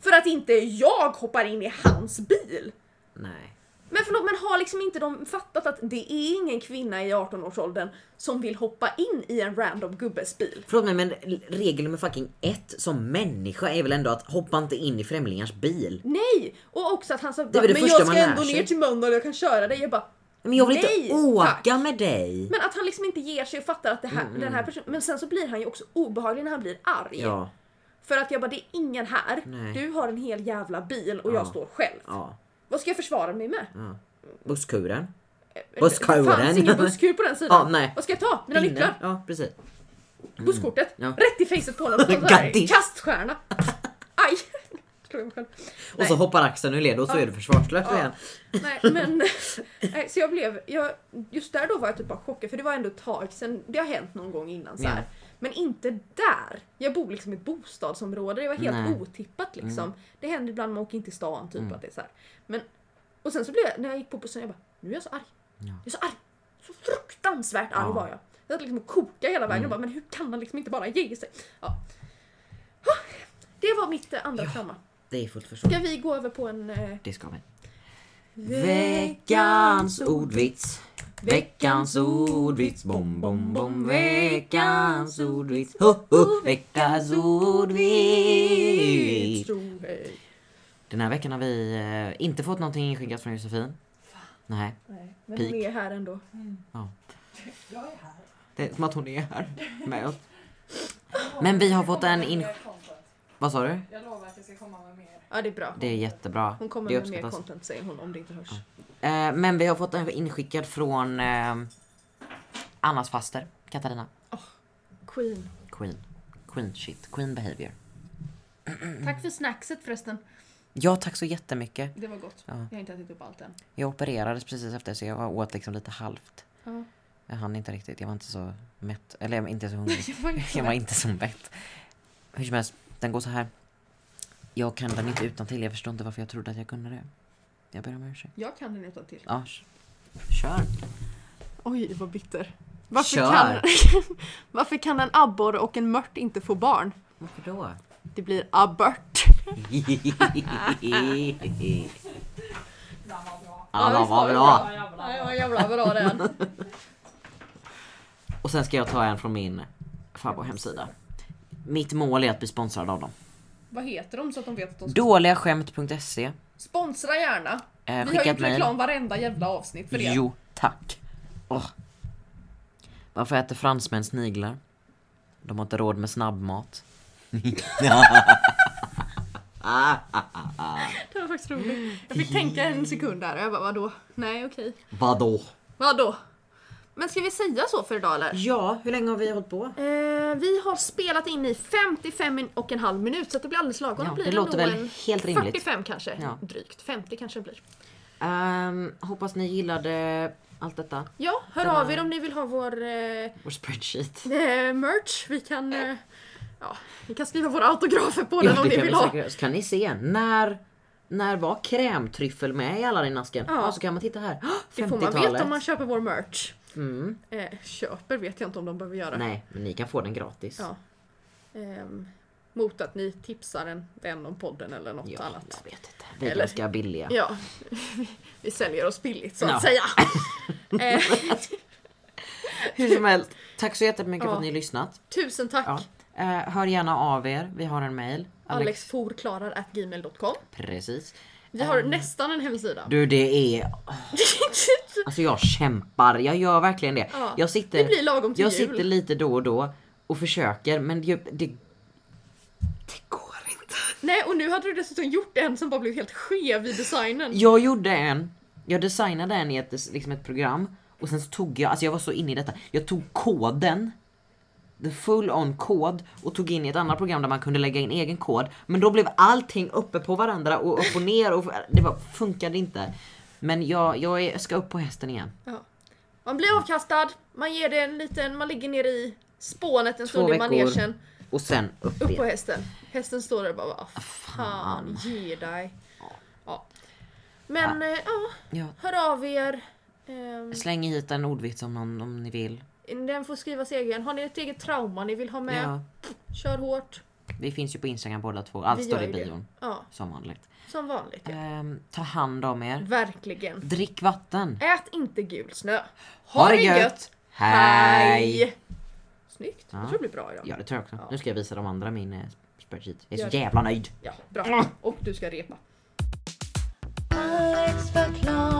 Speaker 1: För att inte jag hoppar in i hans bil.
Speaker 2: Nej.
Speaker 1: Men förlåt, men har liksom inte de fattat att det är ingen kvinna i 18-årsåldern som vill hoppa in i en random gubbes bil?
Speaker 2: Förlåt mig men regel nummer fucking ett som människa är väl ändå att hoppa inte in i främlingars bil.
Speaker 1: Nej! Och också att han sa
Speaker 2: är väl det
Speaker 1: men
Speaker 2: första
Speaker 1: jag
Speaker 2: man
Speaker 1: ska
Speaker 2: lär
Speaker 1: ändå
Speaker 2: sig."
Speaker 1: ner till Mölndal, jag kan köra dig. Jag bara,
Speaker 2: Men jag vill
Speaker 1: Nej,
Speaker 2: inte åka
Speaker 1: tack.
Speaker 2: med dig.
Speaker 1: men att han liksom inte ger sig och fattar att det här, den här personen... Men sen så blir han ju också obehaglig när han blir arg.
Speaker 2: Mm, Ja,
Speaker 1: För att jag bara, det är ingen här.
Speaker 2: Nej.
Speaker 1: Du har en hel jävla bil och
Speaker 2: Ja.
Speaker 1: jag står själv.
Speaker 2: ja.
Speaker 1: Vad ska jag försvara mig med?
Speaker 2: Busskuren.
Speaker 1: Det
Speaker 2: Busskuren.
Speaker 1: fanns ingen busskur på den sidan.
Speaker 2: Ja, nej.
Speaker 1: Vad ska jag ta? Mina
Speaker 2: Pinne.
Speaker 1: nycklar?
Speaker 2: Ja precis.
Speaker 1: Busskortet?
Speaker 2: Ja.
Speaker 1: Rätt i facet på honom. Så här,
Speaker 2: Gaddish.
Speaker 1: Kaststjärna. Aj! Slog jag mig själv.
Speaker 2: Och så hoppar axeln ur led och så är du försvarslös
Speaker 1: Ja.
Speaker 2: igen.
Speaker 1: Nej men, nej, så jag blev, jag, just där då var jag typ bara chockad för det var ändå ett tag sen, det har hänt någon gång innan så här.
Speaker 2: Ja.
Speaker 1: Men inte där! Jag bor liksom i ett bostadsområde, det var helt
Speaker 2: Nej. Mm.
Speaker 1: otippat liksom. Det händer ibland man åker in till stan typ att det är så här. Men, och sen så blev jag, när jag gick på bussen, jag bara nu är jag så arg. Jag är så arg! Så fruktansvärt arg
Speaker 2: Ja. Mm.
Speaker 1: var jag. Jag satt liksom och kokade hela vägen och bara men hur kan han liksom inte bara ge sig? Ja. Det var mitt eh, andra trauma.
Speaker 2: Det är fullt försvar.
Speaker 1: Ska vi gå över på en eh,
Speaker 2: Det ska vi. Veckans ordvits. Veckans ordvits. Bom, bom, bom. Veckans ordvits. Ho, ho. Veckans ordvits.
Speaker 1: ordvits.
Speaker 2: Den här veckan har vi eh, inte fått någonting inskickat från Josefin. Nej,
Speaker 1: Nej, men
Speaker 2: Peak.
Speaker 1: hon är här ändå.
Speaker 5: Mm. Jag är här.
Speaker 2: det är som att hon är här med oss. Men vi har fått en in...
Speaker 5: Mer content.
Speaker 2: Vad sa du?
Speaker 5: Jag lovar att jag ska komma med mer.
Speaker 1: Ja, det är bra.
Speaker 2: Det är jättebra.
Speaker 1: Hon kommer
Speaker 2: det
Speaker 1: med mer
Speaker 2: uppskattas.
Speaker 1: content säger hon om det inte hörs.
Speaker 2: Eh, men vi har fått en inskickad från eh, Annas faster, Katarina.
Speaker 1: Queen.
Speaker 2: Queen. Queen shit. Queen behavior.
Speaker 1: Mm. Tack för snackset förresten.
Speaker 2: Ja, tack så jättemycket.
Speaker 1: Det var gott.
Speaker 2: Ja.
Speaker 1: Jag har inte ätit upp allt än.
Speaker 2: Jag opererades precis efter så jag åt liksom lite halvt.
Speaker 1: Ja.
Speaker 2: Jag hann inte riktigt. Jag var inte så mätt. Eller jag var inte så hungrig.
Speaker 1: Jag var inte så
Speaker 2: jag var
Speaker 1: mätt.
Speaker 2: inte så mätt. Hur som helst, den går så här. Jag kan den inte utan till. Jag förstår inte varför jag trodde att jag kunde det. Jag ber om ursäkt.
Speaker 1: Jag kan den utan till.
Speaker 2: Ja, sh- kör.
Speaker 1: Oj, vad bitter. Varför
Speaker 2: Kör.
Speaker 1: kan, varför kan en abborre och en mört inte få barn?
Speaker 2: Varför då?
Speaker 1: Det blir abbört.
Speaker 5: Den var bra.
Speaker 2: Alla var
Speaker 1: Ja,
Speaker 2: bra.
Speaker 5: jävla
Speaker 1: Nej, vad jävla bra den.
Speaker 2: Och sen ska jag ta en från min farbror hemsida. Mitt mål är att bli sponsrad av dem.
Speaker 1: vad heter de så att de vet att de ska...
Speaker 2: Dåligaskämt.se.
Speaker 1: Sponsra gärna!
Speaker 2: Eh,
Speaker 1: Vi har
Speaker 2: E. skicka ett
Speaker 1: gjort
Speaker 2: mejl.
Speaker 1: reklam varenda jävla avsnitt för det.
Speaker 2: Jo, tack. Åh. Varför äter fransmän sniglar? De har inte råd med snabbmat.
Speaker 1: Det var faktiskt roligt. Jag fick tänka en sekund där och jag bara vadå? Nej okej.
Speaker 2: Vadå?
Speaker 1: Vadå? Men ska vi säga så för idag eller?
Speaker 2: Ja, hur länge har vi hållit på?
Speaker 1: Eh, vi har spelat in i 55 min- och en halv minut så att det blir alldeles lagom.
Speaker 2: Ja,
Speaker 1: blir
Speaker 2: det
Speaker 1: nog
Speaker 2: låter väl
Speaker 1: en
Speaker 2: helt rimligt.
Speaker 1: 45 kanske,
Speaker 2: Ja.
Speaker 1: drygt. 50 kanske det blir.
Speaker 2: Ehm, hoppas ni gillade allt detta.
Speaker 1: Ja, hör
Speaker 2: Den
Speaker 1: av
Speaker 2: här-
Speaker 1: er om ni vill ha vår eh, eh,
Speaker 2: Vår spreadsheet.
Speaker 1: merch. Vi kan, eh, ja, vi kan skriva våra autografer på den
Speaker 2: Ja,
Speaker 1: om
Speaker 2: det
Speaker 1: ni
Speaker 2: kan
Speaker 1: vill
Speaker 2: vi
Speaker 1: ha.
Speaker 2: säkert göra. Så kan ni se när, när var krämtryffel med i alla din asken? Ja.
Speaker 1: Ja.
Speaker 2: så kan man titta här.
Speaker 1: Det får man veta om man
Speaker 2: 50-talet.
Speaker 1: köper vår merch.
Speaker 2: Mm.
Speaker 1: Eh, köper vet jag inte om de behöver göra.
Speaker 2: Nej, men ni kan få den gratis.
Speaker 1: Ja. Ehm, mot att ni tipsar en vän om podden eller något
Speaker 2: Ja,
Speaker 1: annat.
Speaker 2: jag vet inte. Vi är
Speaker 1: Eller-
Speaker 2: ganska billiga.
Speaker 1: Ja, vi säljer oss billigt så att
Speaker 2: Ja.
Speaker 1: säga. Eh,
Speaker 2: Hur som helst, tack så jättemycket för
Speaker 1: Ja.
Speaker 2: att ni har lyssnat.
Speaker 1: tusen tack!
Speaker 2: Ja. Eh, hör gärna av er, vi har en mail.
Speaker 1: Alexforklarar.gmail.com
Speaker 2: Precis.
Speaker 1: Vi
Speaker 2: Ehm.
Speaker 1: har nästan en hemsida.
Speaker 2: Du det är, alltså jag kämpar, jag gör verkligen det.
Speaker 1: Ja,
Speaker 2: Jag sitter,
Speaker 1: det blir lagom till
Speaker 2: jag
Speaker 1: jul.
Speaker 2: sitter lite då och då och försöker men det, det, det går inte.
Speaker 1: Nej och nu hade du dessutom gjort en som bara blev helt skev i designen.
Speaker 2: Jag gjorde en, jag designade en i ett, liksom ett program och sen så tog jag, alltså jag var så inne i detta, jag tog koden the full on kod och tog in i ett annat program där man kunde lägga in egen kod. Men då blev allting uppe på varandra och upp och ner och det var, funkade inte. Men jag, jag är, ska upp på hästen igen.
Speaker 1: Man blir avkastad, man ger det en liten, man ligger ner i spånet en
Speaker 2: Två
Speaker 1: stund i
Speaker 2: veckor.
Speaker 1: manegen.
Speaker 2: Och sen upp
Speaker 1: Upp på
Speaker 2: igen.
Speaker 1: hästen. Hästen står där och bara
Speaker 2: Ah,
Speaker 1: "Vad fan, ge dig. Ja.
Speaker 2: Ah.
Speaker 1: Men eh, ja,
Speaker 2: Ja,
Speaker 1: hör av er. Ehm,
Speaker 2: släng hit en ordvits om någon om ni vill.
Speaker 1: Den får skrivas egen. Har ni ett eget trauma ni vill ha med?
Speaker 2: Ja,
Speaker 1: Kör hårt.
Speaker 2: vi finns ju på Instagram båda två. Allt
Speaker 1: Vi
Speaker 2: står
Speaker 1: gör ju
Speaker 2: i
Speaker 1: det.
Speaker 2: bion
Speaker 1: Ja,
Speaker 2: som vanligt.
Speaker 1: som vanligt. Ja.
Speaker 2: Ehm, ta hand om er.
Speaker 1: Verkligen.
Speaker 2: Drick vatten.
Speaker 1: Ät inte gul snö. Ha,
Speaker 2: Ha det gött. Hej!
Speaker 1: Hej! Snyggt.
Speaker 2: Ja.
Speaker 1: Jag tror det blir bra idag.
Speaker 2: Ja det tror jag också.
Speaker 1: Ja.
Speaker 2: Nu ska jag visa de andra min eh, spreadsheet. Jag är
Speaker 1: Gör
Speaker 2: så
Speaker 1: det.
Speaker 2: jävla nöjd.
Speaker 1: Ja, bra. Och du ska repa.
Speaker 4: Alex förklarar.